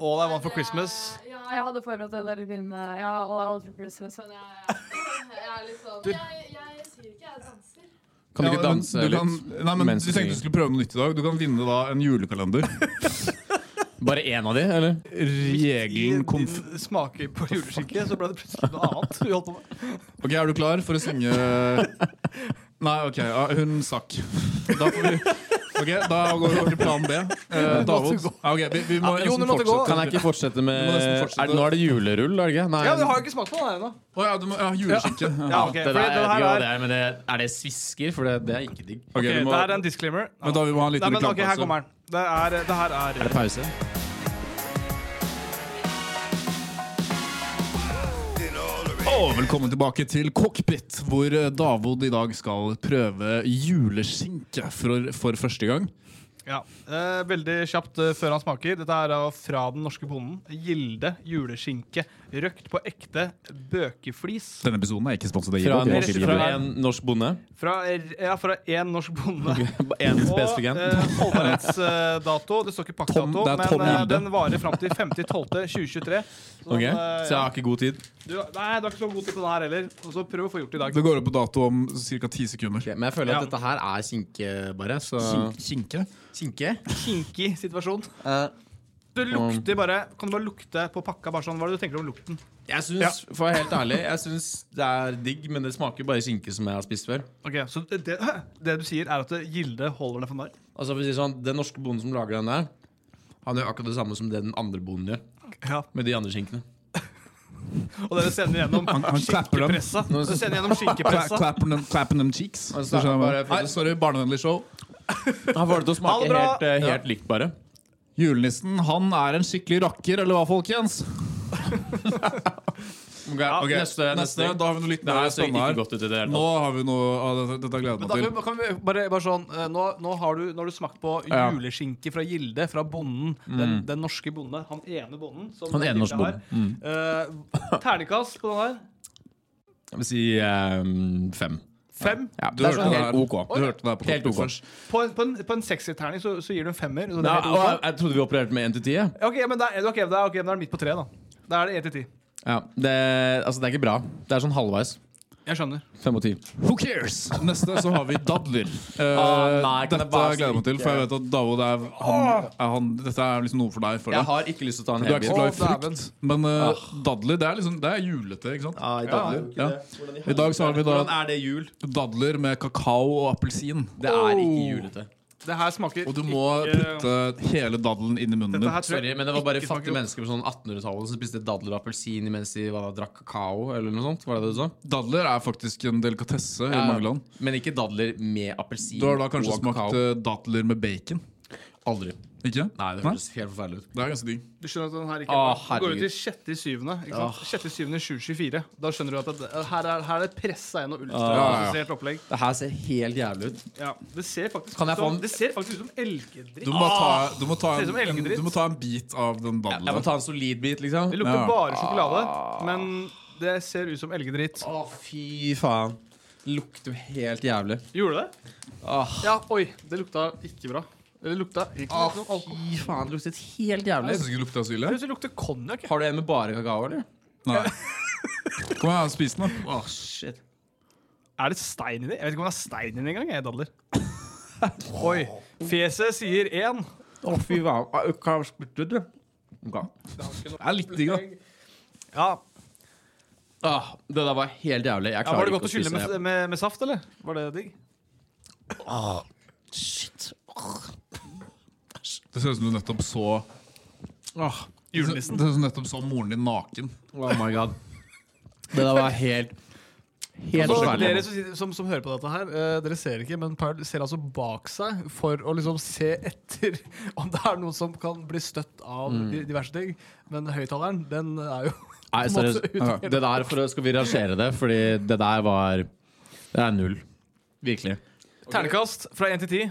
Speaker 2: All I Want for Christmas.
Speaker 5: Ja, jeg hadde forberedt den der filmen. Ja, All I Want for Christmas. Men jeg, jeg er litt sånn Jeg, jeg sier ikke jeg danser.
Speaker 3: Kan du
Speaker 1: Ja,
Speaker 3: ikke
Speaker 1: men
Speaker 3: danse
Speaker 1: du
Speaker 3: litt?
Speaker 1: kan, Nei, men
Speaker 3: mens
Speaker 1: Vi tenkte
Speaker 3: synger?
Speaker 1: du skulle prøve noe nytt i dag. Du kan vinne da en julekalender.
Speaker 3: Bare én av de, eller?
Speaker 1: Regelen
Speaker 2: I
Speaker 1: konf...
Speaker 2: din smaker på juleskinke, så ble det plutselig noe annet. Vi holdt på med.
Speaker 1: Ok, Er du klar for å synge Nei, OK. Ja, hun stakk. Da får vi Ok, Da går vi over til plan B. Eh, David. Ja, ok, vi, vi må
Speaker 2: Ja, Jon,
Speaker 1: nesten
Speaker 2: du måtte gå.
Speaker 1: fortsette.
Speaker 3: Kan jeg ikke fortsette med
Speaker 1: Du må nesten fortsette.
Speaker 3: Er det- Nå er det julerull, er det ikke? Nei.
Speaker 2: Ja, Du har jo ikke smakt på den her ennå.
Speaker 1: Å ja, du må, ja, juleskinke. Ja.
Speaker 2: Ja, ok,
Speaker 3: det
Speaker 2: fordi
Speaker 3: der, jeg
Speaker 2: den
Speaker 3: vet
Speaker 2: her
Speaker 3: ikke hva
Speaker 2: er-
Speaker 3: det er, men det, er det svisker? For det, det er ikke digg.
Speaker 1: Ok,
Speaker 2: Ok,
Speaker 1: du må,
Speaker 2: det her er en disclaimer.
Speaker 1: men da vi må ha en
Speaker 2: Nei,
Speaker 1: liten
Speaker 2: men ok, Her
Speaker 1: reklamepause.
Speaker 2: kommer den. Det, er, det her er
Speaker 3: Pause.
Speaker 1: Og velkommen tilbake til Cockpit, hvor eh, Davod i dag skal prøve juleskinke for, for første gang.
Speaker 2: ja. eh, Veldig kjapt eh, før han smaker. Dette her er fra den norske bonden. Gilde juleskinke. Røkt på ekte bøkeflis.
Speaker 1: Denne episoden er ikke sponset av
Speaker 3: Fra
Speaker 1: Gilde.
Speaker 3: en,
Speaker 1: det var
Speaker 2: Gilde.
Speaker 3: norsk,
Speaker 1: Gilde.
Speaker 3: fra en norsk bonde.
Speaker 2: Fra, ja, fra én norsk bonde.
Speaker 3: En
Speaker 2: Og
Speaker 3: spesifikk en.
Speaker 2: eh, holdbarhetsdato. Det står ikke
Speaker 1: Tom-
Speaker 2: pakkdato,
Speaker 1: det er
Speaker 2: men
Speaker 1: Tom
Speaker 2: eh,
Speaker 1: Gilde.
Speaker 2: den varer fram til 5.12.2023. Sånn,
Speaker 3: Ok,
Speaker 2: eh,
Speaker 3: Så jeg
Speaker 2: ja.
Speaker 3: har ikke god tid.
Speaker 2: du, nei, du har ikke så god tid på den her heller. Og så prøv å få gjort det i dag.
Speaker 1: Det går opp på dato om ca. ti sekunder.
Speaker 3: men jeg føler
Speaker 2: at Ja.
Speaker 3: at dette her er kinke, bare. Så
Speaker 2: eh,
Speaker 1: Kink- Skinke?
Speaker 3: Kinke?
Speaker 2: Kinky situasjon.
Speaker 3: Eh,
Speaker 2: Du lukter bare Kan du bare lukte på pakka? Bare sånn, Hva er det du tenker om lukten?
Speaker 3: Jeg syns, for å være helt ærlig, jeg syns det er digg, men det smaker bare kinke som jeg har spist før.
Speaker 2: Ok, Så det, det du sier, er at Gilde holder deg for narr?
Speaker 3: Altså for å si det sånn, Den norske bonden som lager den der, han gjør akkurat det samme som det den andre bonden gjør.
Speaker 2: Ja.
Speaker 3: Med de andre skinkene.
Speaker 2: Og dere sender gjennom
Speaker 1: han klapper dem.
Speaker 2: skinkepressa. Dere sender gjennom skinkepressa.
Speaker 1: Clapping them, clapping them cheeks. Du
Speaker 3: Altså,
Speaker 1: skjønner hva jeg
Speaker 3: bare-
Speaker 1: mener. Nei, sorry, barnevennlig show.
Speaker 3: Han
Speaker 2: Ha
Speaker 3: får det til å
Speaker 2: det
Speaker 3: smake
Speaker 2: bra!
Speaker 3: helt, eh, helt likt, bare.
Speaker 1: Julenissen han er en skikkelig rakker, eller hva, folkens?
Speaker 3: Ja,
Speaker 1: Ok,
Speaker 3: Neste. neste.
Speaker 1: Da har vi noe litt
Speaker 3: Det sånn
Speaker 1: mer
Speaker 3: her ser
Speaker 1: spennende
Speaker 3: altså ikke
Speaker 1: her.
Speaker 3: godt ut i det hele
Speaker 1: Nå
Speaker 3: tatt.
Speaker 1: har vi noe ah, dette, dette gleder jeg
Speaker 2: Men da
Speaker 1: meg
Speaker 2: kan
Speaker 1: til.
Speaker 2: vi, kan vi bare, bare sånn eh, nå, nå, har du, nå har du smakt på
Speaker 1: Ja.
Speaker 2: juleskinke fra Gilde, fra bonden. Den, den norske bonde. Han ene bonden. Som
Speaker 3: Mm. Han ene
Speaker 2: Gilde
Speaker 3: norske Mm.
Speaker 2: har. Eh, terningkast på den her.
Speaker 3: Jeg vil si eh, fem.
Speaker 2: Fem.
Speaker 3: Ja,
Speaker 1: Du
Speaker 3: det er
Speaker 1: hørte
Speaker 3: sånn
Speaker 1: det
Speaker 3: helt
Speaker 1: her.
Speaker 3: ok.
Speaker 1: Du hørte det her på
Speaker 3: Helt
Speaker 1: Cockpit
Speaker 3: ok.
Speaker 1: først.
Speaker 2: På en, på en, på en sekserterning så, så gir du en femmer. Så det
Speaker 3: Nei,
Speaker 2: er helt
Speaker 3: og
Speaker 2: ok.
Speaker 3: jeg trodde vi opererte med 1 til 10. jeg.
Speaker 2: Ok, men da er, ok, da er, ok, da er det midt på tre, da. Da er det én til ti.
Speaker 3: Ja, det, altså, det er ikke bra. Det er sånn halvveis.
Speaker 2: Jeg skjønner.
Speaker 3: 5 og 10.
Speaker 1: Who cares? Neste så har vi dadler. Eh,
Speaker 3: Ah, nei, kan
Speaker 1: dette
Speaker 3: jeg bare
Speaker 1: gleder jeg meg til, for jeg vet at Davod er, han,
Speaker 2: Ah!
Speaker 1: er han, Dette er liksom noe for deg. For
Speaker 3: Jeg
Speaker 1: deg.
Speaker 3: har Ah. ikke lyst til å ta en
Speaker 1: Du er
Speaker 3: hel
Speaker 1: ikke så
Speaker 3: bit.
Speaker 1: glad i frukt, men eh, dadler det er, liksom, det er julete, ikke sant?
Speaker 3: Nei, dadler.
Speaker 1: Ja. I dag så har vi da
Speaker 3: Hvordan er det jul?
Speaker 1: dadler med kakao og appelsin.
Speaker 3: Det er
Speaker 1: Oh.
Speaker 3: ikke julete.
Speaker 2: Det her smaker
Speaker 1: Og du må
Speaker 2: ikke-
Speaker 1: putte hele daddelen inn i munnen
Speaker 2: Dette
Speaker 1: din.
Speaker 2: her tror jeg
Speaker 3: Sorry, men det var bare
Speaker 2: ikke
Speaker 3: fattige
Speaker 2: smaker-
Speaker 3: mennesker på sånn 1800-tallet som spiste dadler og appelsin mens de hva da, drakk kakao. eller noe sånt, var det det du sa?
Speaker 1: Dadler er faktisk en delikatesse i mange land.
Speaker 3: Men ikke dadler med appelsin
Speaker 1: Du har da kanskje
Speaker 3: og
Speaker 1: smakt
Speaker 3: kakao.
Speaker 1: eh, dadler med bacon?
Speaker 3: Aldri.
Speaker 1: Ikke?
Speaker 3: Nei, det høres helt forferdelig ut.
Speaker 1: Det er ganske digg.
Speaker 2: Du skjønner at den her ikke
Speaker 3: Å,
Speaker 2: er bra. Den går ut
Speaker 3: herregud.
Speaker 2: til 6.7. ikke sant? 6.7. 2024. Da skjønner du at det, eh, her, er, her er det pressa inn og
Speaker 1: ja, ja.
Speaker 2: ultraprosessert opplegg.
Speaker 3: Det her ser helt jævlig ut.
Speaker 2: Ja, det ser faktisk
Speaker 3: Kan jeg
Speaker 2: ut
Speaker 3: få
Speaker 2: som,
Speaker 3: en-
Speaker 2: Det ser faktisk ut som elgedrikk.
Speaker 1: Du må ta, du må ta,
Speaker 2: Ah! Ser ut som
Speaker 1: en, en,
Speaker 2: elgedritt.
Speaker 1: du må ta en bit av den
Speaker 3: Jeg må
Speaker 1: dadelen.
Speaker 3: ta en solid bit, liksom.
Speaker 2: Det lukter
Speaker 1: Ja.
Speaker 2: bare sjokolade, men det ser ut som elgedritt.
Speaker 3: Å, fy faen. Det lukter jo helt jævlig.
Speaker 2: Gjorde det? Ja, oi. Det lukta ikke bra. Eller lukta ikke
Speaker 3: Å,
Speaker 2: noe alkohol.
Speaker 3: fy faen. Det luktet helt jævlig.
Speaker 1: Jeg syns ikke det lukter asyle.
Speaker 2: Jeg synes det lukter konjakk.
Speaker 3: Har du en med bare kakao, eller?
Speaker 1: Nei. Kom her, spis den, da. Ah,
Speaker 3: Å, shit.
Speaker 2: Er det stein inni? Jeg vet ikke om det er stein inni engang. jeg, dadler. Oi. Fjeset sier én.
Speaker 3: Å, fy faen. Ah, Hva spurte du? Okay. Det er litt digg, da.
Speaker 2: Ja.
Speaker 3: Ah, det der var helt jævlig. Jeg
Speaker 2: ja
Speaker 3: klarer
Speaker 2: var det
Speaker 3: ikke
Speaker 2: godt å skylle med,
Speaker 3: spise.
Speaker 2: med, med saft, eller? Var det digg?
Speaker 1: Det ser ut som du nettopp så
Speaker 2: Åh,
Speaker 1: Det ser det
Speaker 2: julenissen.
Speaker 1: ser ut som du nettopp så moren din naken.
Speaker 3: Oh my god. Det der var helt Helt
Speaker 2: Så
Speaker 3: forferdelig.
Speaker 2: dere som, sitter- som, som hører på dette her, eh, dere ser ikke, men Paul ser altså bak seg for å liksom se etter om det er noen som kan bli støtt av di- diverse ting. Men høyttaleren, den er jo
Speaker 3: Nei,
Speaker 2: på en
Speaker 3: seriøst.
Speaker 2: måte utdelt.
Speaker 3: Det der for å, skal vi rangere det, fordi det der var Det er null. Virkelig.
Speaker 2: Ternekast fra én til ti.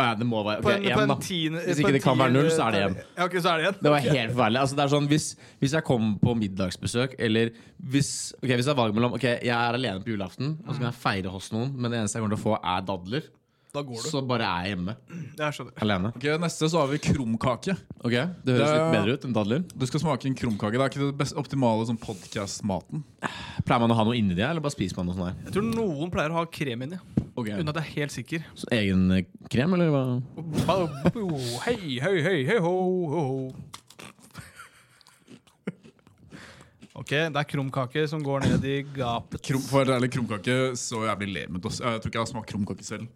Speaker 3: Å ja, det må være
Speaker 2: På
Speaker 3: ok,
Speaker 2: en- på
Speaker 3: én,
Speaker 2: en
Speaker 3: da.
Speaker 2: tiende-
Speaker 3: Hvis
Speaker 2: på
Speaker 3: ikke
Speaker 2: en
Speaker 3: det kan være
Speaker 2: tiende-
Speaker 3: null, så er det én.
Speaker 2: Ja, ok, så er det igjen.
Speaker 3: Det var helt forferdelig. Altså, det er sånn, hvis, hvis jeg kommer på middagsbesøk, eller hvis, ok, hvis jeg valger mellom Ok, jeg er alene på julaften, og så kan jeg feire hos noen, men det eneste jeg kommer til å få, er dadler,
Speaker 2: Da går du.
Speaker 3: så bare er jeg hjemme
Speaker 2: Jeg skjønner.
Speaker 3: alene.
Speaker 1: Ok, Neste så har vi krumkake.
Speaker 3: Ok, Det høres litt bedre ut enn dadler.
Speaker 1: Du skal smake en krumkake. Det er ikke det best optimale sånn podcast-maten.
Speaker 3: Pleier man å ha noe inni det, eller bare spiser man noe sånn sånt?
Speaker 2: Jeg tror noen pleier å ha krem inni.
Speaker 3: her?
Speaker 2: Uten at jeg er helt sikker.
Speaker 3: Så egen eh, krem, eller hva?
Speaker 2: Hei, hei, hei, hei, ho, ho, ho. Ok, det er krumkake som går ned i gapet.
Speaker 1: Krum, for det ærlig, krumkake så jævlig lemet. også. Jeg tror ikke jeg har smakt krumkake selv.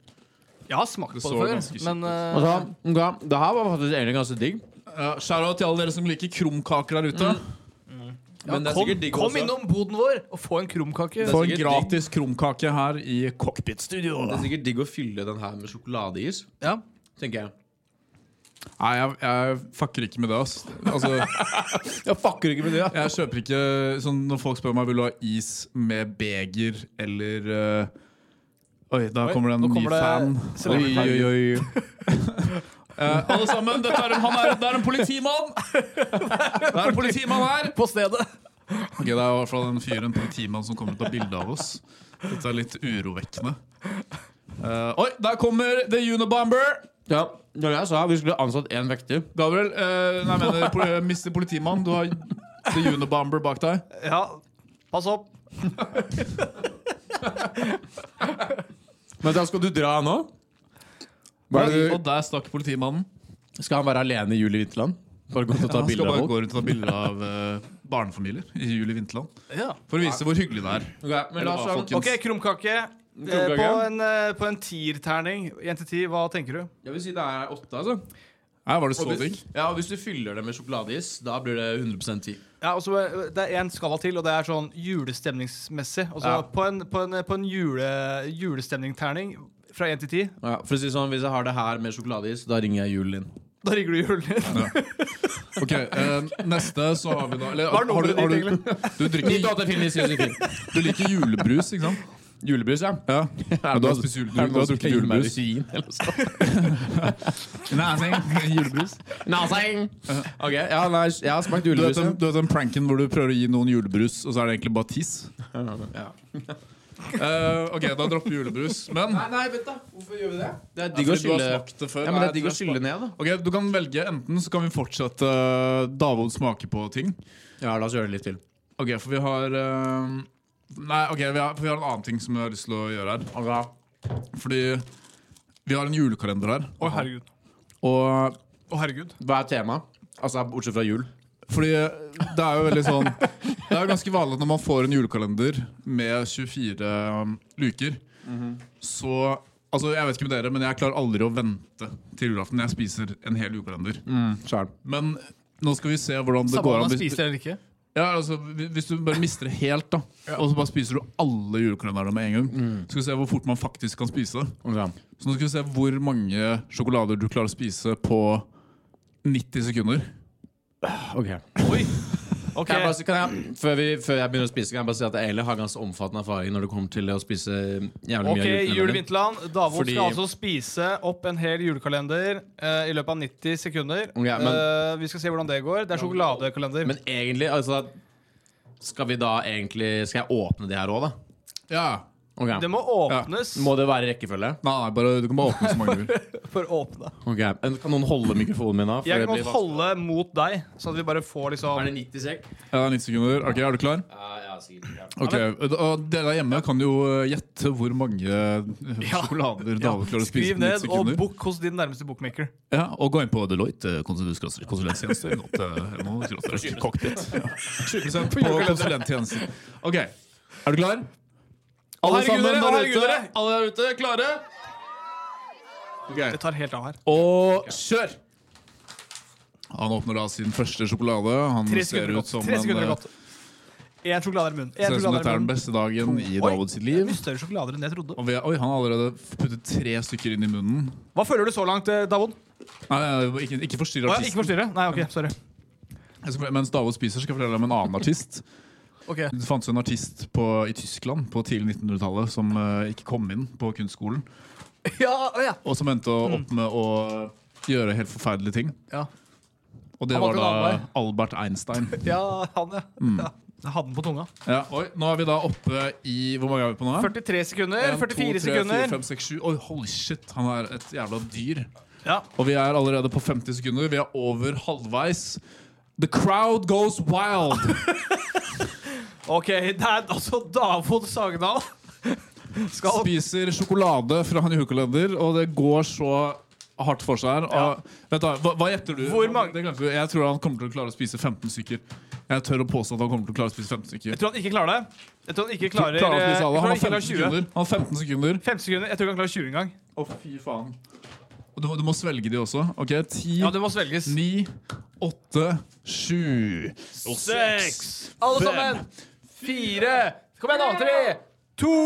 Speaker 2: Jeg har smakt
Speaker 1: Det
Speaker 2: på
Speaker 1: så
Speaker 2: det
Speaker 1: ganske
Speaker 2: før,
Speaker 1: kjipt
Speaker 2: men
Speaker 1: ut.
Speaker 2: eh,
Speaker 3: Altså, ok, det her var faktisk egentlig ganske digg.
Speaker 1: Uh, Shout-out til alle dere som liker krumkaker der ute.
Speaker 2: ja,
Speaker 3: Men det er
Speaker 2: kom,
Speaker 3: sikkert digg
Speaker 2: kom
Speaker 3: også.
Speaker 2: innom boden vår og få en krumkake.
Speaker 1: Få
Speaker 3: sikkert
Speaker 1: gratis krumkake her i cockpit-studio.
Speaker 3: Det er sikkert digg å fylle den her med sjokoladeis,
Speaker 2: Ja.
Speaker 3: tenker jeg.
Speaker 1: Nei, jeg, jeg fucker ikke med det. ass Altså,
Speaker 3: Jeg fucker ikke med det.
Speaker 1: jeg kjøper ikke sånn, Når folk spør meg vil du ha is med beger eller eh, Oi, da
Speaker 2: Oi,
Speaker 1: kommer det en
Speaker 2: nå
Speaker 1: ny
Speaker 2: kommer det
Speaker 1: fan. Oi,
Speaker 2: celebrity.
Speaker 1: oi, oi, oi. Eh, alle sammen, dette er en, han er, det er en politimann! Det er en politimann her!
Speaker 2: På stedet.
Speaker 1: Ok, Det er i hvert fall en fyr, en politimann, som kommer til å ta bilde av oss. Dette er litt urovekkende. Eh, oi, der kommer The Unibomber!
Speaker 3: Ja, det var det jeg sa. Vi skulle ansatt én vekter.
Speaker 1: Gabriel, eh, nei, mener pol Mr. Politimann, du har The Unibomber bak deg.
Speaker 2: Ja, pass opp.
Speaker 3: Men da skal du dra nå? Hva er det
Speaker 1: Og der stakk politimannen.
Speaker 3: du- Skal han være alene i Julie Vinterland? Bare gå ut og ta
Speaker 1: Han skal
Speaker 3: bilder av
Speaker 1: bare
Speaker 3: folk?
Speaker 1: gå rundt og ta bilder av eh, barnefamilier i Julie Vinterland.
Speaker 2: Ja.
Speaker 1: For å vise hvor hyggelig det er.
Speaker 3: Ok, men la oss
Speaker 1: Eller hva,
Speaker 3: sånn.
Speaker 1: folkens?
Speaker 2: Ok, krumkake. Eh,
Speaker 3: Krumkake.
Speaker 2: På en, eh, på en tierterning, én til ti, hva tenker du?
Speaker 3: Jeg vil si det er åtte, altså.
Speaker 1: Her var det så
Speaker 3: Og
Speaker 1: digg.
Speaker 3: hvis, ja, og hvis du fyller det med sjokoladeis, da blir det 100 ti.
Speaker 2: Ja, og så, eh, Det er én skala til, og det er sånn julestemningsmessig. Altså,
Speaker 3: Ja.
Speaker 2: På en, på en, på en jule, julestemningterning fra én til ti,
Speaker 3: Ja, for å si det sånn, Hvis jeg har det her med sjokoladeis, da ringer jeg Julien.
Speaker 2: da rigger du julen din.
Speaker 1: Ok, eh, Neste så har vi da eller,
Speaker 2: Hva er
Speaker 1: har du,
Speaker 2: nummeret
Speaker 1: har
Speaker 2: ditt,
Speaker 1: du,
Speaker 2: egentlig?
Speaker 1: du, drikker, du liker julebrus, ikke sant?
Speaker 3: Julebrus, ja.
Speaker 1: Ja. Men du har spist jule- du har drukket julebrus. julebrus.
Speaker 3: Nasing! Ok, ja, nei, jeg har smakt
Speaker 1: Du vet,
Speaker 3: julebrus.
Speaker 1: den, du vet den pranken hvor du prøver å gi noen julebrus, og så er det egentlig bare tiss?
Speaker 3: Ja.
Speaker 1: Eh, ok, da dropper vi julebrus. Men
Speaker 3: Nei, nei, vent da, hvorfor gjør vi det? Det er
Speaker 1: Ja,
Speaker 3: digg å
Speaker 1: fordi du har
Speaker 3: skylle
Speaker 1: smakt det før.
Speaker 3: Ja, men det
Speaker 1: Nei,
Speaker 3: er digg å
Speaker 1: jeg tror jeg
Speaker 3: skylle ned, da.
Speaker 1: Ok, Du kan velge enten så kan vi fortsette eh, Davod smake på ting.
Speaker 3: Ja, la oss gjøre det litt til.
Speaker 1: Ok, for vi har eh, Nei, ok, vi har, for vi har en annen ting som jeg har lyst til å gjøre her. Fordi vi har en julekalender her.
Speaker 2: Å, herregud.
Speaker 1: Og
Speaker 2: Å, herregud.
Speaker 3: Hva er temaet? Altså, bortsett fra jul.
Speaker 1: Fordi eh, det er jo veldig sånn Det er jo ganske vanlig at når man får en julekalender med 24 um, luker, så Altså, Jeg vet ikke med dere, men jeg klarer aldri å vente til julaften. Jeg spiser en hel julekalender. Men nå skal vi se hvordan det
Speaker 2: Samme
Speaker 1: går
Speaker 2: om
Speaker 1: an.
Speaker 2: man
Speaker 1: Hvis,
Speaker 2: spiser eller ikke.
Speaker 1: ja, altså, hvis- hvis du bare mister det helt, da og så bare spiser du alle julekalenderne med en gang,
Speaker 2: Mm.
Speaker 1: så skal vi se hvor fort man faktisk kan spise det. Så nå skal vi se hvor mange sjokolader du klarer å spise på 90 sekunder.
Speaker 3: Ok.
Speaker 2: Oi. Ok,
Speaker 3: Kan jeg bare, si- kan jeg, før, vi, før jeg begynner å spise, kan jeg bare si at jeg egentlig har ganske omfattende erfaring når det kommer til å spise
Speaker 2: Ok,
Speaker 3: jævlig mye
Speaker 2: Jule
Speaker 3: julekalender.
Speaker 2: Vinterland. Davon
Speaker 3: Fordi-
Speaker 2: skal altså spise opp en hel julekalender eh, i løpet av 90 sekunder.
Speaker 3: Ok, men-
Speaker 2: Eh, vi skal se hvordan det går. Det er sjokoladekalender.
Speaker 3: Men egentlig, altså Skal vi da egentlig Skal jeg åpne de her òg, da?
Speaker 1: Ja.
Speaker 3: Ok.
Speaker 2: det må åpnes
Speaker 3: Må det være rekkefølge?
Speaker 1: Nei, nei, bare, du kan bare åpne så mange du vil.
Speaker 2: for å åpne.
Speaker 3: Ok, men Kan noen holde mikrofonen min da? før
Speaker 2: Jeg
Speaker 3: det
Speaker 2: kan
Speaker 3: blir
Speaker 2: holde mot deg, sånn at vi bare får liksom
Speaker 3: vanskelig? Er det 90 sek?
Speaker 1: Ja, det er 90 sekunder. Ok, Er du klar?
Speaker 3: Ja, ja,
Speaker 6: Ja, sikkert. Ja.
Speaker 1: Ok, og Dere der hjemme kan jo eh, gjette hvor mange eh, sjokolader Dale klarer å spise
Speaker 2: Skriv
Speaker 1: på 90
Speaker 2: ned og
Speaker 1: sekunder.
Speaker 2: book hos din nærmeste bookmaker.
Speaker 1: Ja, og gå inn på Deloitte eh, konsulenttjenester. konsulenttjenester, nå til- nå til- til- Cockpit. Ja. 20 på konsulenttjenester. Ok, er du klar? Alle
Speaker 2: herregud,
Speaker 1: sammen
Speaker 2: dere,
Speaker 1: der
Speaker 2: å, herregud,
Speaker 1: ute.
Speaker 2: dere.
Speaker 1: Alle der ute, klare?
Speaker 2: Det tar helt av her.
Speaker 1: Og kjør! Han åpner da sin første sjokolade. Han
Speaker 2: Tre
Speaker 1: ser
Speaker 2: sekunder
Speaker 1: ut
Speaker 2: godt.
Speaker 1: som,
Speaker 2: Tre
Speaker 1: en,
Speaker 2: sekunder
Speaker 1: eh,
Speaker 2: godt. Én sjokolade i munnen.
Speaker 1: ser
Speaker 2: En
Speaker 1: ut som dette
Speaker 2: sjokolade
Speaker 1: er
Speaker 2: i
Speaker 1: den
Speaker 2: munnen.
Speaker 1: beste dagen i
Speaker 2: Oi.
Speaker 1: Davids sitt
Speaker 2: Det er
Speaker 1: liv.
Speaker 2: mye større sjokolader enn jeg trodde.
Speaker 1: Og vi, oi, han har allerede puttet tre stykker inn i munnen.
Speaker 2: Hva føler du så langt, eh, Davon?
Speaker 1: Nei, nei, nei, ikke, ikke forstyrr
Speaker 2: Å, ja,
Speaker 1: artisten.
Speaker 2: ikke forstyrre? Nei, ok, sorry.
Speaker 1: Jeg skal- Mens David spiser, skal jeg fortelle deg om en annen artist.
Speaker 2: Ok.
Speaker 1: Det fantes en artist på, i Tyskland på tidlig 1900-tallet som eh, ikke kom inn på kunstskolen.
Speaker 2: Ja, å, ja.
Speaker 1: Og som endte å- opp med å gjøre helt forferdelige ting.
Speaker 2: Mm. Ja.
Speaker 1: Og det
Speaker 2: Han
Speaker 1: var
Speaker 2: valgte en
Speaker 1: da
Speaker 2: annen
Speaker 1: Albert Einstein.
Speaker 2: ja, han, ja.
Speaker 1: Mm.
Speaker 2: ja. Jeg hadde den på tunga.
Speaker 1: Ja, oi, nå er vi da oppe i Hvor mange er vi på nå?
Speaker 2: 43 sekunder,
Speaker 1: 1, 2,
Speaker 2: 44
Speaker 1: 3, 4,
Speaker 2: sekunder.
Speaker 1: 5, 6, 7. Oi, holy shit, han er et jævla dyr.
Speaker 2: Ja.
Speaker 1: Og vi er allerede på 50 sekunder. Vi er over halvveis. The crowd goes wild!
Speaker 2: Ok, det er altså Davon Sagedal. Skal
Speaker 1: Spiser sjokolade fra han julekalender, og det går så hardt for seg her. Og, vent da, hva, hva gjetter du?
Speaker 2: Hvor mange-
Speaker 1: Det glemte du. Jeg tror han kommer til å klare å spise 15 stykker. Jeg tør å påstå at han kommer til å klare å spise 15 stykker.
Speaker 2: Jeg tror han ikke klarer det. Jeg tror han ikke
Speaker 1: Klarer
Speaker 2: klarer, eh,
Speaker 1: å
Speaker 2: jeg
Speaker 1: spise
Speaker 2: tror
Speaker 1: alle. Han har
Speaker 2: ikke klarer
Speaker 1: 15 sekunder. Han har 15 sekunder.
Speaker 2: 5 sekunder. Jeg tror ikke han klarer 20 engang.
Speaker 1: Å, fy faen. Og du, må- du må svelge de også. OK, ti,
Speaker 2: Ja, det må svelges.
Speaker 1: ni, åtte, sju og
Speaker 2: Seks. Alle
Speaker 1: Fem.
Speaker 2: sammen. Fire. Kom igjen, da. Tre, to,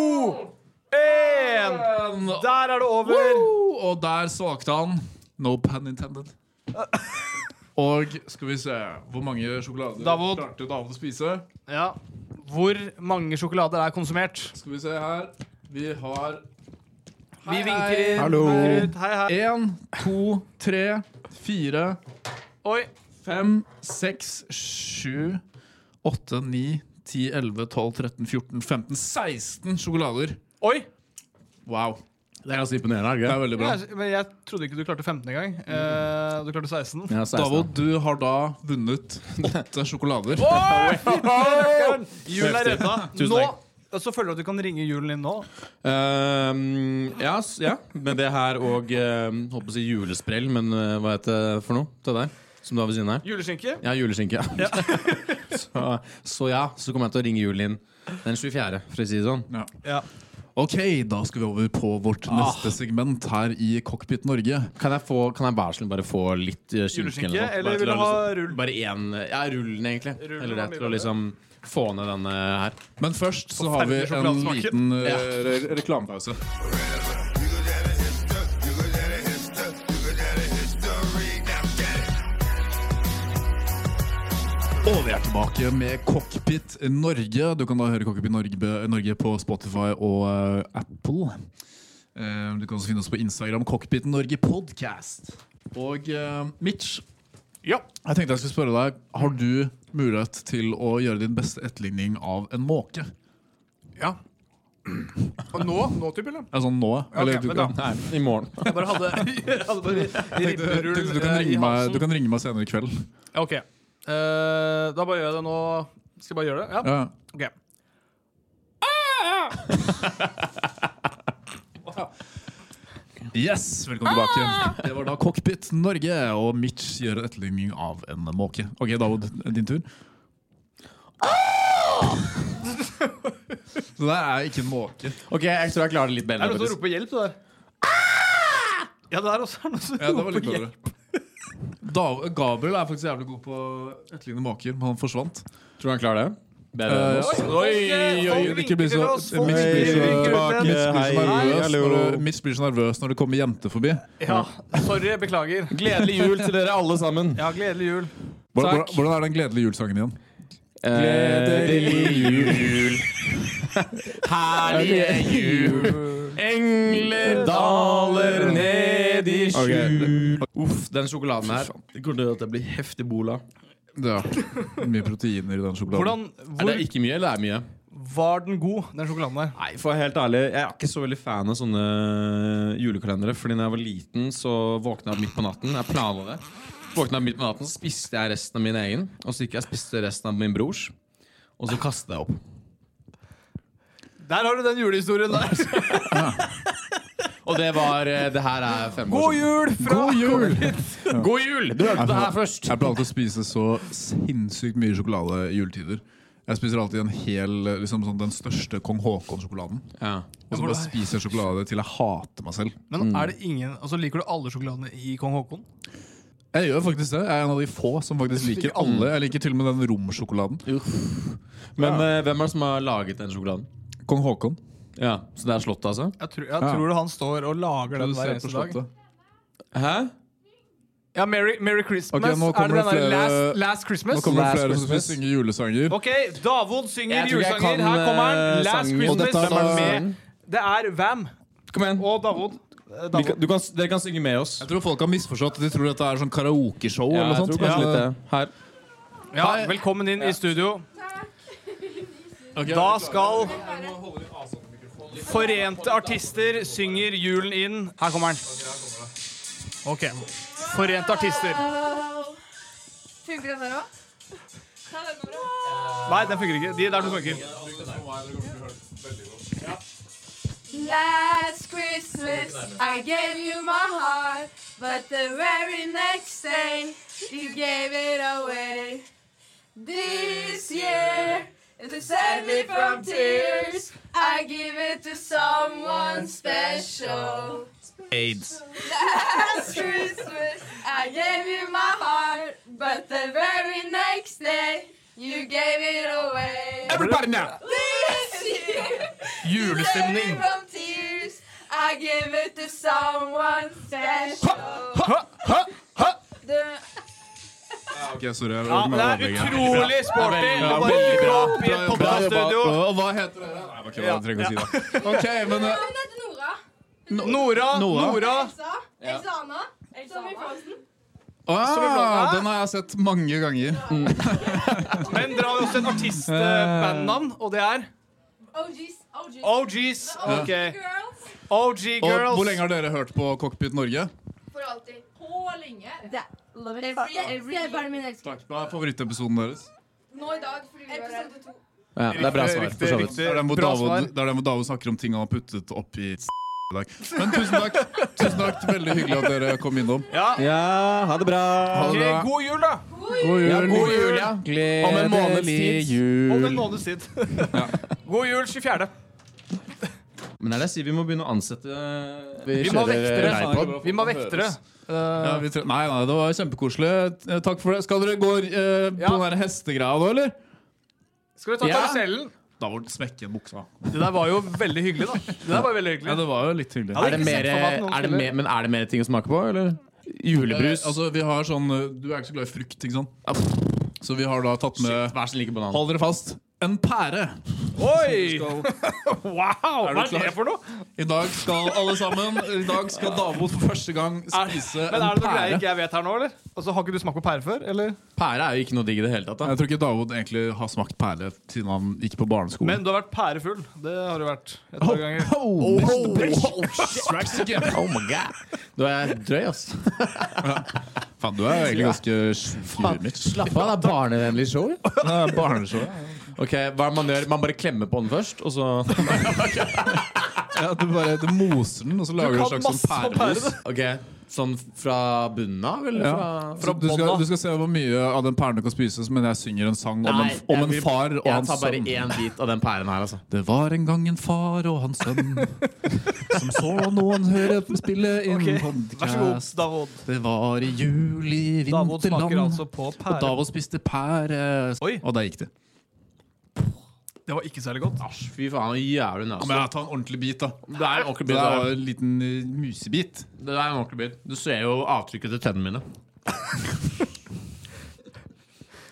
Speaker 2: én.
Speaker 1: En.
Speaker 2: Der er det over.
Speaker 1: Og der svakte han. No pan intended. Og skal vi se Hvor mange sjokolader
Speaker 2: Davod.
Speaker 1: klarte David å spise?
Speaker 2: Ja. Hvor mange sjokolader er konsumert?
Speaker 1: Skal vi se her. Vi har
Speaker 2: Vi vinker inn.
Speaker 7: Hallo.
Speaker 2: vinker ut. Hei, hei.
Speaker 1: én, to, tre, fire,
Speaker 2: Oi.
Speaker 1: fem, seks, sju, åtte, ni, ti, elleve, tolv, 13, 14, 15, 16 sjokolader.
Speaker 2: Oi.
Speaker 1: Wow.
Speaker 7: Det er ganske imponerende. er det
Speaker 1: Det
Speaker 7: ikke?
Speaker 1: er veldig bra.
Speaker 2: Jeg, men jeg trodde ikke du klarte 15 engang. Eh, du klarte 16.
Speaker 7: Jeg er 16 da.
Speaker 1: Davod, du har da vunnet åtte sjokolader.
Speaker 2: Julen er redda.
Speaker 7: Tusen
Speaker 2: Nå
Speaker 7: takk.
Speaker 2: så føler du at du kan ringe julen inn nå.
Speaker 3: Ehm, ja, s- ja, med det her og ehm, holdt på å si julesprell, men eh, hva heter det for noe til deg? Som du har ved siden her?
Speaker 2: Juleskinke.
Speaker 3: Ja, juleskinke. Ja. så, så ja, så kommer jeg til å ringe julen inn den 24., for å si det sånn.
Speaker 2: Ja.
Speaker 1: Ok, da skal vi over på vårt neste segment her i Cockpit Norge.
Speaker 3: Kan jeg, få, kan jeg bare, snill bare få litt eh,
Speaker 2: Juleskinke,
Speaker 3: skinke?
Speaker 2: eller
Speaker 3: eller noe? Bare
Speaker 2: vil
Speaker 3: til
Speaker 2: du
Speaker 3: å
Speaker 2: ha
Speaker 3: liksom-
Speaker 2: rull?
Speaker 3: Bare én Ja, rullen, egentlig.
Speaker 2: Rullen
Speaker 3: eller
Speaker 2: var mye
Speaker 3: det, til å
Speaker 2: bedre.
Speaker 3: liksom få ned denne her.
Speaker 1: Men først så har vi
Speaker 2: Forferdelig
Speaker 1: en
Speaker 2: sjokoladesmaken.
Speaker 1: liten eh, re
Speaker 8: You
Speaker 1: reklamepause.
Speaker 8: good at a history, you good at a history, you good at a history. Now get it.
Speaker 1: Og vi er tilbake med Cockpit Norge. Du kan da høre Cockpit Norge, Norge på Spotify og eh, Apple. Eh, du kan også finne oss på Instagram, Cockpit Norge Podcast. Og eh, Mitch,
Speaker 2: Ja.
Speaker 1: jeg tenkte jeg skulle spørre deg, har du mulighet til å gjøre din beste etterligning av en måke?
Speaker 9: Ja. Og nå? Nå, typ, eller?
Speaker 1: Altså nå?
Speaker 9: Ok, men da-
Speaker 1: Nei,
Speaker 3: I morgen.
Speaker 2: Jeg bare hadde, jeg hadde bare
Speaker 1: tenkte,
Speaker 2: ribberull
Speaker 1: tenkte du, kan
Speaker 2: eh, i
Speaker 1: ringe meg, du
Speaker 2: halsen.
Speaker 1: kan ringe meg senere i kveld.
Speaker 2: Ok. Eh, da bare gjør jeg det nå. Skal jeg bare gjøre det? Ja.
Speaker 1: Ja.
Speaker 2: Ok.
Speaker 1: Yes, velkommen tilbake. Det var da Cockpit Norge, og Mitch gjør en etterligning av en måke. Ok, David, din tur. Ah! Så der er ikke en måke.
Speaker 7: Ok, jeg tror jeg klarer det litt
Speaker 2: Er
Speaker 7: bedre.
Speaker 2: det noen som
Speaker 7: faktisk.
Speaker 2: roper hjelp, det der? Ja, det er også er det noen
Speaker 1: Ah!
Speaker 2: som
Speaker 1: Ja, det var
Speaker 2: roper
Speaker 1: litt
Speaker 2: hjelp.
Speaker 1: bedre. Dav Gabriel er faktisk jævlig god på å etterligne måker, men han forsvant.
Speaker 3: Tror du han klarer det? Bedre enn
Speaker 1: Eh,
Speaker 3: oss.
Speaker 2: Oi, oi,
Speaker 1: Ikke bli så, Mitch
Speaker 2: Folk
Speaker 1: blir så,
Speaker 2: ringer til oss, folk
Speaker 3: tilbake.
Speaker 1: Mitch blir så
Speaker 3: Hei,
Speaker 1: nervøs
Speaker 3: hallo.
Speaker 1: når du- Mitch blir så nervøs når det kommer jenter forbi.
Speaker 2: Ja, sorry, beklager.
Speaker 3: Gledelig jul til dere alle sammen.
Speaker 2: Ja, gledelig jul.
Speaker 1: Hvordan,
Speaker 3: Takk.
Speaker 1: hvordan er den gledelige julsangen igjen?
Speaker 3: Gledelig jul. Herlige jul. Engler daler ned i skjul. Uff, den sjokoladen her. Det kommer til at det blir heftig bola.
Speaker 1: Ja. Mye proteiner i den sjokoladen.
Speaker 2: Hvordan,
Speaker 3: Er
Speaker 2: hvor
Speaker 3: det ikke mye, eller er det mye?
Speaker 2: var den god, den sjokoladen der?
Speaker 3: Nei, for å være helt ærlig, Jeg er ikke så veldig fan av sånne eh, julekalendere. Fordi når jeg var liten, så våkna jeg midt på natten. Jeg planla det. Våkna jeg midt på natten, Så spiste jeg resten av min egen. Og så gikk jeg og spiste resten av min brors. Og så kastet jeg opp.
Speaker 2: Der har du den julehistorien der.
Speaker 10: Og det var eh, Det her er fem år
Speaker 3: God
Speaker 10: siden.
Speaker 3: jul fra
Speaker 1: God jul! sånn-
Speaker 10: God jul! Du hørte det her først.
Speaker 1: Jeg pleier alltid å spise så sinnssykt mye sjokolade i juletider. Jeg spiser alltid en hel, liksom sånn, den største Kong Haakon-sjokoladen.
Speaker 10: Ja.
Speaker 1: Og så bare spiser jeg sjokolade til jeg hater meg selv.
Speaker 2: Men er det ingen, altså Liker du alle sjokoladene i Kong Haakon?
Speaker 1: Jeg gjør faktisk det. Jeg er en av de få som faktisk liker alle. Jeg liker til og med den romsjokoladen.
Speaker 10: Men eh, hvem er det som har laget den sjokoladen?
Speaker 1: Kong Haakon.
Speaker 10: Ja, Så det er slottet, altså?
Speaker 2: Jeg, tror- jeg tror han står og lager den hver
Speaker 1: Produsert på
Speaker 2: eneste dag.
Speaker 1: Slottet.
Speaker 10: Hæ?
Speaker 2: Ja, Merry, Merry Christmas.
Speaker 1: Ok, nå
Speaker 2: er
Speaker 1: kommer
Speaker 2: det
Speaker 1: det
Speaker 2: den der
Speaker 1: flere-
Speaker 2: last, last Christmas?
Speaker 1: Nå kommer det
Speaker 3: Last
Speaker 1: flere som vil
Speaker 3: Christmas.
Speaker 1: synge julesanger.
Speaker 2: Ok, Davon synger
Speaker 10: Jeg tror ikke jeg
Speaker 2: julesanger. Her
Speaker 10: kan,
Speaker 2: kommer han.
Speaker 10: eh,
Speaker 2: Last
Speaker 10: sangen.
Speaker 2: Christmas.
Speaker 3: Og dette er da-
Speaker 2: med, det er Vam
Speaker 10: Kom igjen.
Speaker 2: og Davon. Eh,
Speaker 10: Vi
Speaker 2: Davon.
Speaker 10: kan- du kan, dere kan synge med oss.
Speaker 1: Jeg tror folk har misforstått. De tror dette er sånn karaokeshow.
Speaker 10: Ja,
Speaker 1: eller noe
Speaker 10: jeg tror
Speaker 1: sånt.
Speaker 10: kanskje
Speaker 1: Men,
Speaker 10: litt det. Her.
Speaker 2: Ja, velkommen inn i studio.
Speaker 1: ok,
Speaker 2: Da skal Forente artister synger julen inn. Her kommer den. Ok. Forente artister.
Speaker 5: Funker den der òg? Ta den over, da.
Speaker 2: Nei, den funker ikke. De der to funker.
Speaker 5: Last Christmas I gave you my heart, but the very next day you gave it away. This year, to save me from tears, I give it to someone special.
Speaker 10: Aids.
Speaker 5: Last Christmas I gave you my heart, but the very next day you gave it
Speaker 1: eh,
Speaker 5: away.
Speaker 10: Everybody now!
Speaker 5: This year.
Speaker 2: Julestemning.
Speaker 5: From tears, I give it to someone special. The-
Speaker 1: Ok, sorry. Jeg
Speaker 2: Ja,
Speaker 1: må
Speaker 2: det er
Speaker 1: ødelegge.
Speaker 2: utrolig sporty.
Speaker 10: Ja, veldig bra.
Speaker 2: Det bare dukker opp i et
Speaker 1: Bra jobba.
Speaker 2: podcaststudio.
Speaker 1: Og hva heter dere? Nei, ok, jeg trenger ikke å si det. Ok, men eh,
Speaker 5: Hun heter Nora.
Speaker 2: Nora, Nora.
Speaker 5: Elsa. Elsa Anna. Elsa Anna.
Speaker 1: ah, Den har jeg sett mange ganger.
Speaker 2: Men dere har jo også et artistbandnavn, og det er
Speaker 5: OGs. OGs.
Speaker 2: OGs. Ok.
Speaker 5: Girls.
Speaker 2: OG
Speaker 1: Og hvor
Speaker 2: Girls.
Speaker 1: lenge har dere hørt på Cockpit Norge?
Speaker 5: For alltid. På lenge.
Speaker 11: Love it.
Speaker 5: Every- every-
Speaker 11: Se barnet min elsker.
Speaker 1: Takk, Hva er favorittepisoden deres?
Speaker 5: Nå i dag, fordi vi var her.
Speaker 10: Ja, det er bra svar.
Speaker 2: Riktig,
Speaker 10: For så vidt.
Speaker 2: riktig.
Speaker 1: Det er den hvor
Speaker 2: Bra svar.
Speaker 1: David, det er den hvor David snakker om ting han har puttet opp i s- i dag. Men tusen takk. Tusen takk, Veldig hyggelig at dere kom innom.
Speaker 2: Ja.
Speaker 3: Ja, ha det bra.
Speaker 1: Ha
Speaker 2: Ok,
Speaker 1: det bra.
Speaker 2: god jul, da.
Speaker 1: God
Speaker 3: Ja,
Speaker 1: jul.
Speaker 3: god jul, ja.
Speaker 10: Om en måneds
Speaker 3: Gledelig
Speaker 10: tid.
Speaker 2: Om en
Speaker 3: jul.
Speaker 2: måneds tid. God jul 24.
Speaker 10: Men det er det jeg sier, vi må begynne å ansette eh,
Speaker 2: Vi må ha vektere.
Speaker 1: Leipod.
Speaker 2: Vi må ha vektere.
Speaker 1: Ja, vi tre... Nei, nei, det var kjempekoselig. Eh, Takk for det. Skal dere gå eh, på
Speaker 2: Ja.
Speaker 1: den der hestegreia nå, eller?
Speaker 2: Skal vi ta karusellen?
Speaker 1: Da var det smekke buksa.
Speaker 2: Det der var jo veldig hyggelig, da. Det der var jo veldig
Speaker 1: Ja,
Speaker 2: hyggelig.
Speaker 1: det var jo litt hyggelig.
Speaker 2: Ja,
Speaker 3: Er det mer, er det mer, men er det mer ting å smake på, eller? Julebrus.
Speaker 1: Eh, altså, vi har sånn eh, Du er ikke så glad i frukt, ikke sant? Så vi har da tatt med
Speaker 10: Vær så snill, ikke banan.
Speaker 1: Hold dere fast. En pære.
Speaker 2: Oi! Wow! Hva er det for noe?
Speaker 1: I dag skal alle sammen I dag skal Davot for første gang spise
Speaker 2: Eh, Men
Speaker 1: en
Speaker 2: er det noe greier
Speaker 1: pære.
Speaker 2: ikke jeg vet her nå, eller? Altså, Har ikke du smakt på pære før? eller?
Speaker 10: Pære er jo ikke noe digg i det hele tatt. da
Speaker 1: Jeg tror ikke Davot egentlig har smakt pære siden han gikk på barneskolen.
Speaker 2: Men du har vært pærefull. Det har du vært et par ganger.
Speaker 1: Oh,
Speaker 3: Oh my god. Du er drøy, ass.
Speaker 1: Faen, du er jo egentlig ganske sjuk i huet mitt.
Speaker 3: Slapp av, det er barnevennlig show.
Speaker 1: Det er barneshow.
Speaker 10: Ok, Hva er det man gjør? Man bare klemmer på den først, og så
Speaker 1: Ja, du bare du moser den, og så lager du en
Speaker 2: kan
Speaker 1: slags
Speaker 2: masse
Speaker 1: sånn
Speaker 2: om
Speaker 1: pæremos.
Speaker 2: pære,
Speaker 10: Ok, Sånn fra bunnen av, eller?
Speaker 1: Ja.
Speaker 10: Fra
Speaker 1: Så Du, skal, du skal se hvor mye av den pæren du kan spise, men jeg synger en sang om en,
Speaker 3: Nei,
Speaker 1: om
Speaker 3: jeg
Speaker 1: en
Speaker 3: vil-
Speaker 1: far og
Speaker 3: Jeg
Speaker 1: hans
Speaker 3: tar bare
Speaker 1: sønn.
Speaker 3: én bit av den pæren her, altså.
Speaker 1: Det var en gang en far og hans sønn som så noen høre dem spille inn
Speaker 2: Ok,
Speaker 1: podcast.
Speaker 2: Vær så god, Davod.
Speaker 1: Det var i juli,
Speaker 2: Davod smaker
Speaker 1: vinterland,
Speaker 2: altså på
Speaker 1: og
Speaker 2: pære.
Speaker 1: Davos spiste pære.
Speaker 2: Oi.
Speaker 1: Og der gikk det.
Speaker 2: Det var ikke særlig godt.
Speaker 10: Fy faen, jævlig nasty.
Speaker 1: jeg tar en ordentlig bit, da.
Speaker 10: Det er en ordentlig
Speaker 1: Det
Speaker 10: bit.
Speaker 1: var
Speaker 10: Det,
Speaker 1: en liten eh, musebit.
Speaker 10: er- det er en ordentlig bit. Du ser jo avtrykket til tennene mine.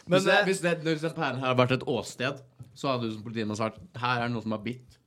Speaker 2: Men
Speaker 10: hvis, det,
Speaker 2: eh,
Speaker 10: hvis, det, hvis den pæren her hadde vært et åsted, så hadde du som politimann sagt her er det noe som er bitt.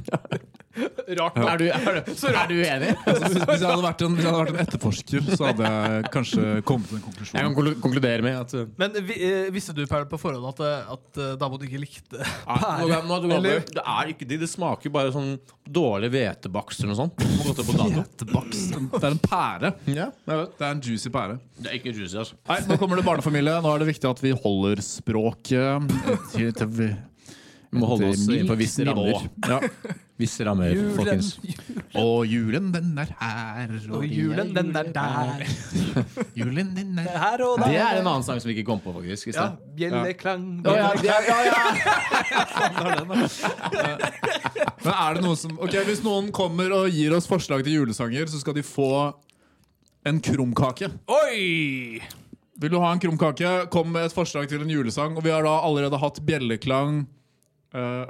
Speaker 2: rart nok.
Speaker 3: Er du, er du, er du uenig?
Speaker 1: Altså, hvis, hvis, jeg hadde vært en, hvis jeg hadde vært en etterforsker, så hadde jeg kanskje kommet til en konklusjon.
Speaker 10: Jeg kan kol- konkludere med at uh,
Speaker 2: Men vi- eh, visste du Perle, på forhånd at, eh, at eh, Davod ikke likte
Speaker 10: nå
Speaker 2: pære?
Speaker 10: kan- nå kan du
Speaker 2: Eller-
Speaker 10: Det er ikke digg. Det smaker bare sånn dårlig hvetebakst eller noe sånt. Som har gått opp på dato.
Speaker 1: Etterbakst. Det er en pære.
Speaker 10: Ja, jeg vet.
Speaker 1: Det er en juicy pære.
Speaker 10: Det er ikke juicy, altså.
Speaker 1: Nei, Nå kommer det barnefamilie. Nå er det viktig at vi holder språket.
Speaker 3: Vi må holde oss
Speaker 10: Etter
Speaker 3: innenfor
Speaker 10: mildt
Speaker 3: visse rammer.
Speaker 10: nivå.
Speaker 3: Ja. Visse rammer, folkens.
Speaker 1: Og julen, den er her.
Speaker 2: Og julen, den er der.
Speaker 1: julen, den er her.
Speaker 2: Her og
Speaker 3: Det
Speaker 2: der.
Speaker 3: er en annen sang som vi ikke kom på, faktisk. i
Speaker 2: Ja,
Speaker 3: sted.
Speaker 2: bjelleklang.
Speaker 3: Å, ja, det er- ja, ja.
Speaker 1: Men er det noe som Ok, Hvis noen kommer og gir oss forslag til julesanger, så skal de få en krumkake.
Speaker 2: Oi!
Speaker 1: Vil du ha en krumkake? Kom med et forslag til en julesang. Og vi har da allerede hatt bjelleklang. eh,
Speaker 2: Og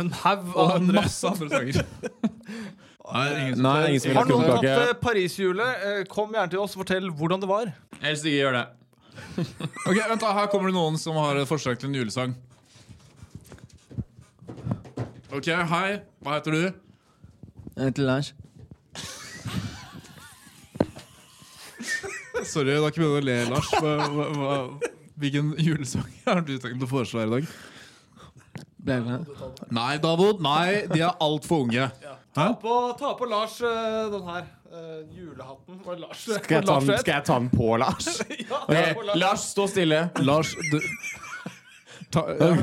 Speaker 2: en haug
Speaker 1: og
Speaker 2: av andre.
Speaker 1: masse andre sanger. Nei, ingen-
Speaker 10: Nei, ingen som vil ha
Speaker 2: Har noen tatt
Speaker 10: krumkake.
Speaker 2: eh, Paris-hjulet? Eh, Kom gjerne til oss og fortell hvordan det var.
Speaker 10: Helst ikke gjør det.
Speaker 1: Ok, vent da, Her kommer det noen som har et forslag til en julesang. Ok, Hei, hva heter du?
Speaker 3: Jeg heter Lars.
Speaker 1: Sorry, det er ikke meningen å le, Lars. Hva, hva, hva, hvilken julesang har du tenkt å foreslå her i dag?
Speaker 3: Ble jeg glad?
Speaker 1: Nei, Davod. Nei, de er altfor unge.
Speaker 2: Ta på, ta på Lars eh, den her. eh, julehatten. Var det Lars?
Speaker 10: Skal jeg, ta den,
Speaker 2: Lars
Speaker 10: skal jeg ta den på Lars?
Speaker 2: Ja, ta
Speaker 10: Ok,
Speaker 2: på Lars.
Speaker 10: Lars, stå stille.
Speaker 1: Lars, du Ta, ja.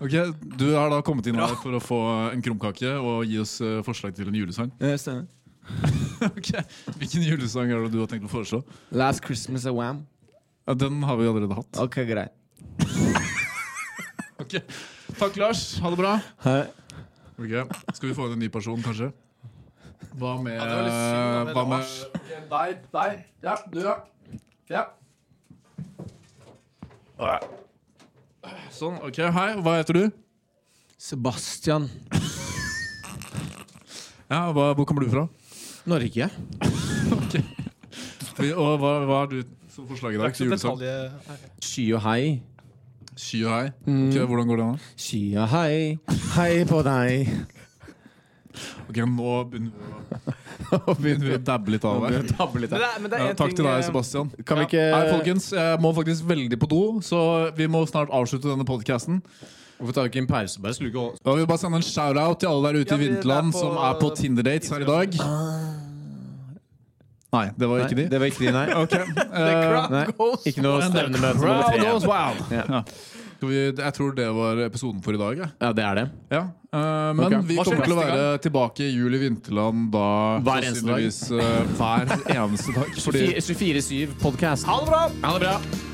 Speaker 1: Ok, Du har da kommet inn her for å få en krumkake og gi oss eh, forslag til en julesang.
Speaker 3: Ja, stemmer.
Speaker 1: Ok, Hvilken julesang er det du har tenkt å foreslå?
Speaker 3: Last Christmas a Wham.
Speaker 1: Ja, Den har vi allerede hatt.
Speaker 3: Ok, greit.
Speaker 1: Ok, Takk, Lars. Ha det bra.
Speaker 3: Hei.
Speaker 1: Ok, Skal vi få inn en ny person, kanskje? Hva med
Speaker 2: var litt synd, da,
Speaker 1: Hva med
Speaker 2: Lars.
Speaker 12: Deg, deg. Ja, du, ja. Ja.
Speaker 1: Sånn. ok, Hei, hva heter du?
Speaker 3: Sebastian.
Speaker 1: Ja, hva, Hvor kommer du fra?
Speaker 3: Norge.
Speaker 1: Vi- Og hva, hva har du som forslag i
Speaker 2: Det er
Speaker 1: dag
Speaker 2: ikke
Speaker 1: til
Speaker 2: så
Speaker 1: julesang?
Speaker 2: detalje-
Speaker 3: Sky og hei.
Speaker 1: Sky og hei. Ok, hvordan går det an? da?
Speaker 3: Sky og hei, hei på deg.
Speaker 1: Ok, Nå begynner vi å- begynner vi å dabbe litt av her.
Speaker 2: Men det er, men det
Speaker 1: Ja,
Speaker 2: er en
Speaker 1: takk til
Speaker 2: ting,
Speaker 1: deg,
Speaker 2: eh,
Speaker 1: Sebastian.
Speaker 3: Kan vi ikke
Speaker 1: Nei, folkens, jeg må faktisk veldig på do, så vi må snart avslutte denne podcasten.
Speaker 10: Hvorfor tar vi ikke en pause? Bare sluke og
Speaker 1: Og vi vil bare sende en shout-out til alle der ute
Speaker 2: Ja,
Speaker 1: i
Speaker 2: vi er
Speaker 1: Vinterland
Speaker 2: på-
Speaker 1: som er på Tinder-dates her i dag. Nei, det var ikke de.
Speaker 3: Det var ikke de, nei.
Speaker 1: Ok. eh,
Speaker 3: nei. Ikke noe
Speaker 1: And the
Speaker 3: stevnemøte nummer
Speaker 1: crowd
Speaker 3: tre.
Speaker 1: goes wild. Ja. Skal vi, jeg tror det var episoden for i dag. jeg.
Speaker 3: Ja, det er det.
Speaker 1: Ja. eh, men
Speaker 3: Ok.
Speaker 1: vi
Speaker 3: Hva skjer
Speaker 1: kommer til å
Speaker 3: neste
Speaker 1: være tilbake i jul i Vinterland da
Speaker 3: Hver eneste dag.
Speaker 1: sannsynligvis, eh, hver eneste dag. Fordi
Speaker 3: 24-7-podkast.
Speaker 2: Ha det bra!
Speaker 3: Ha det bra.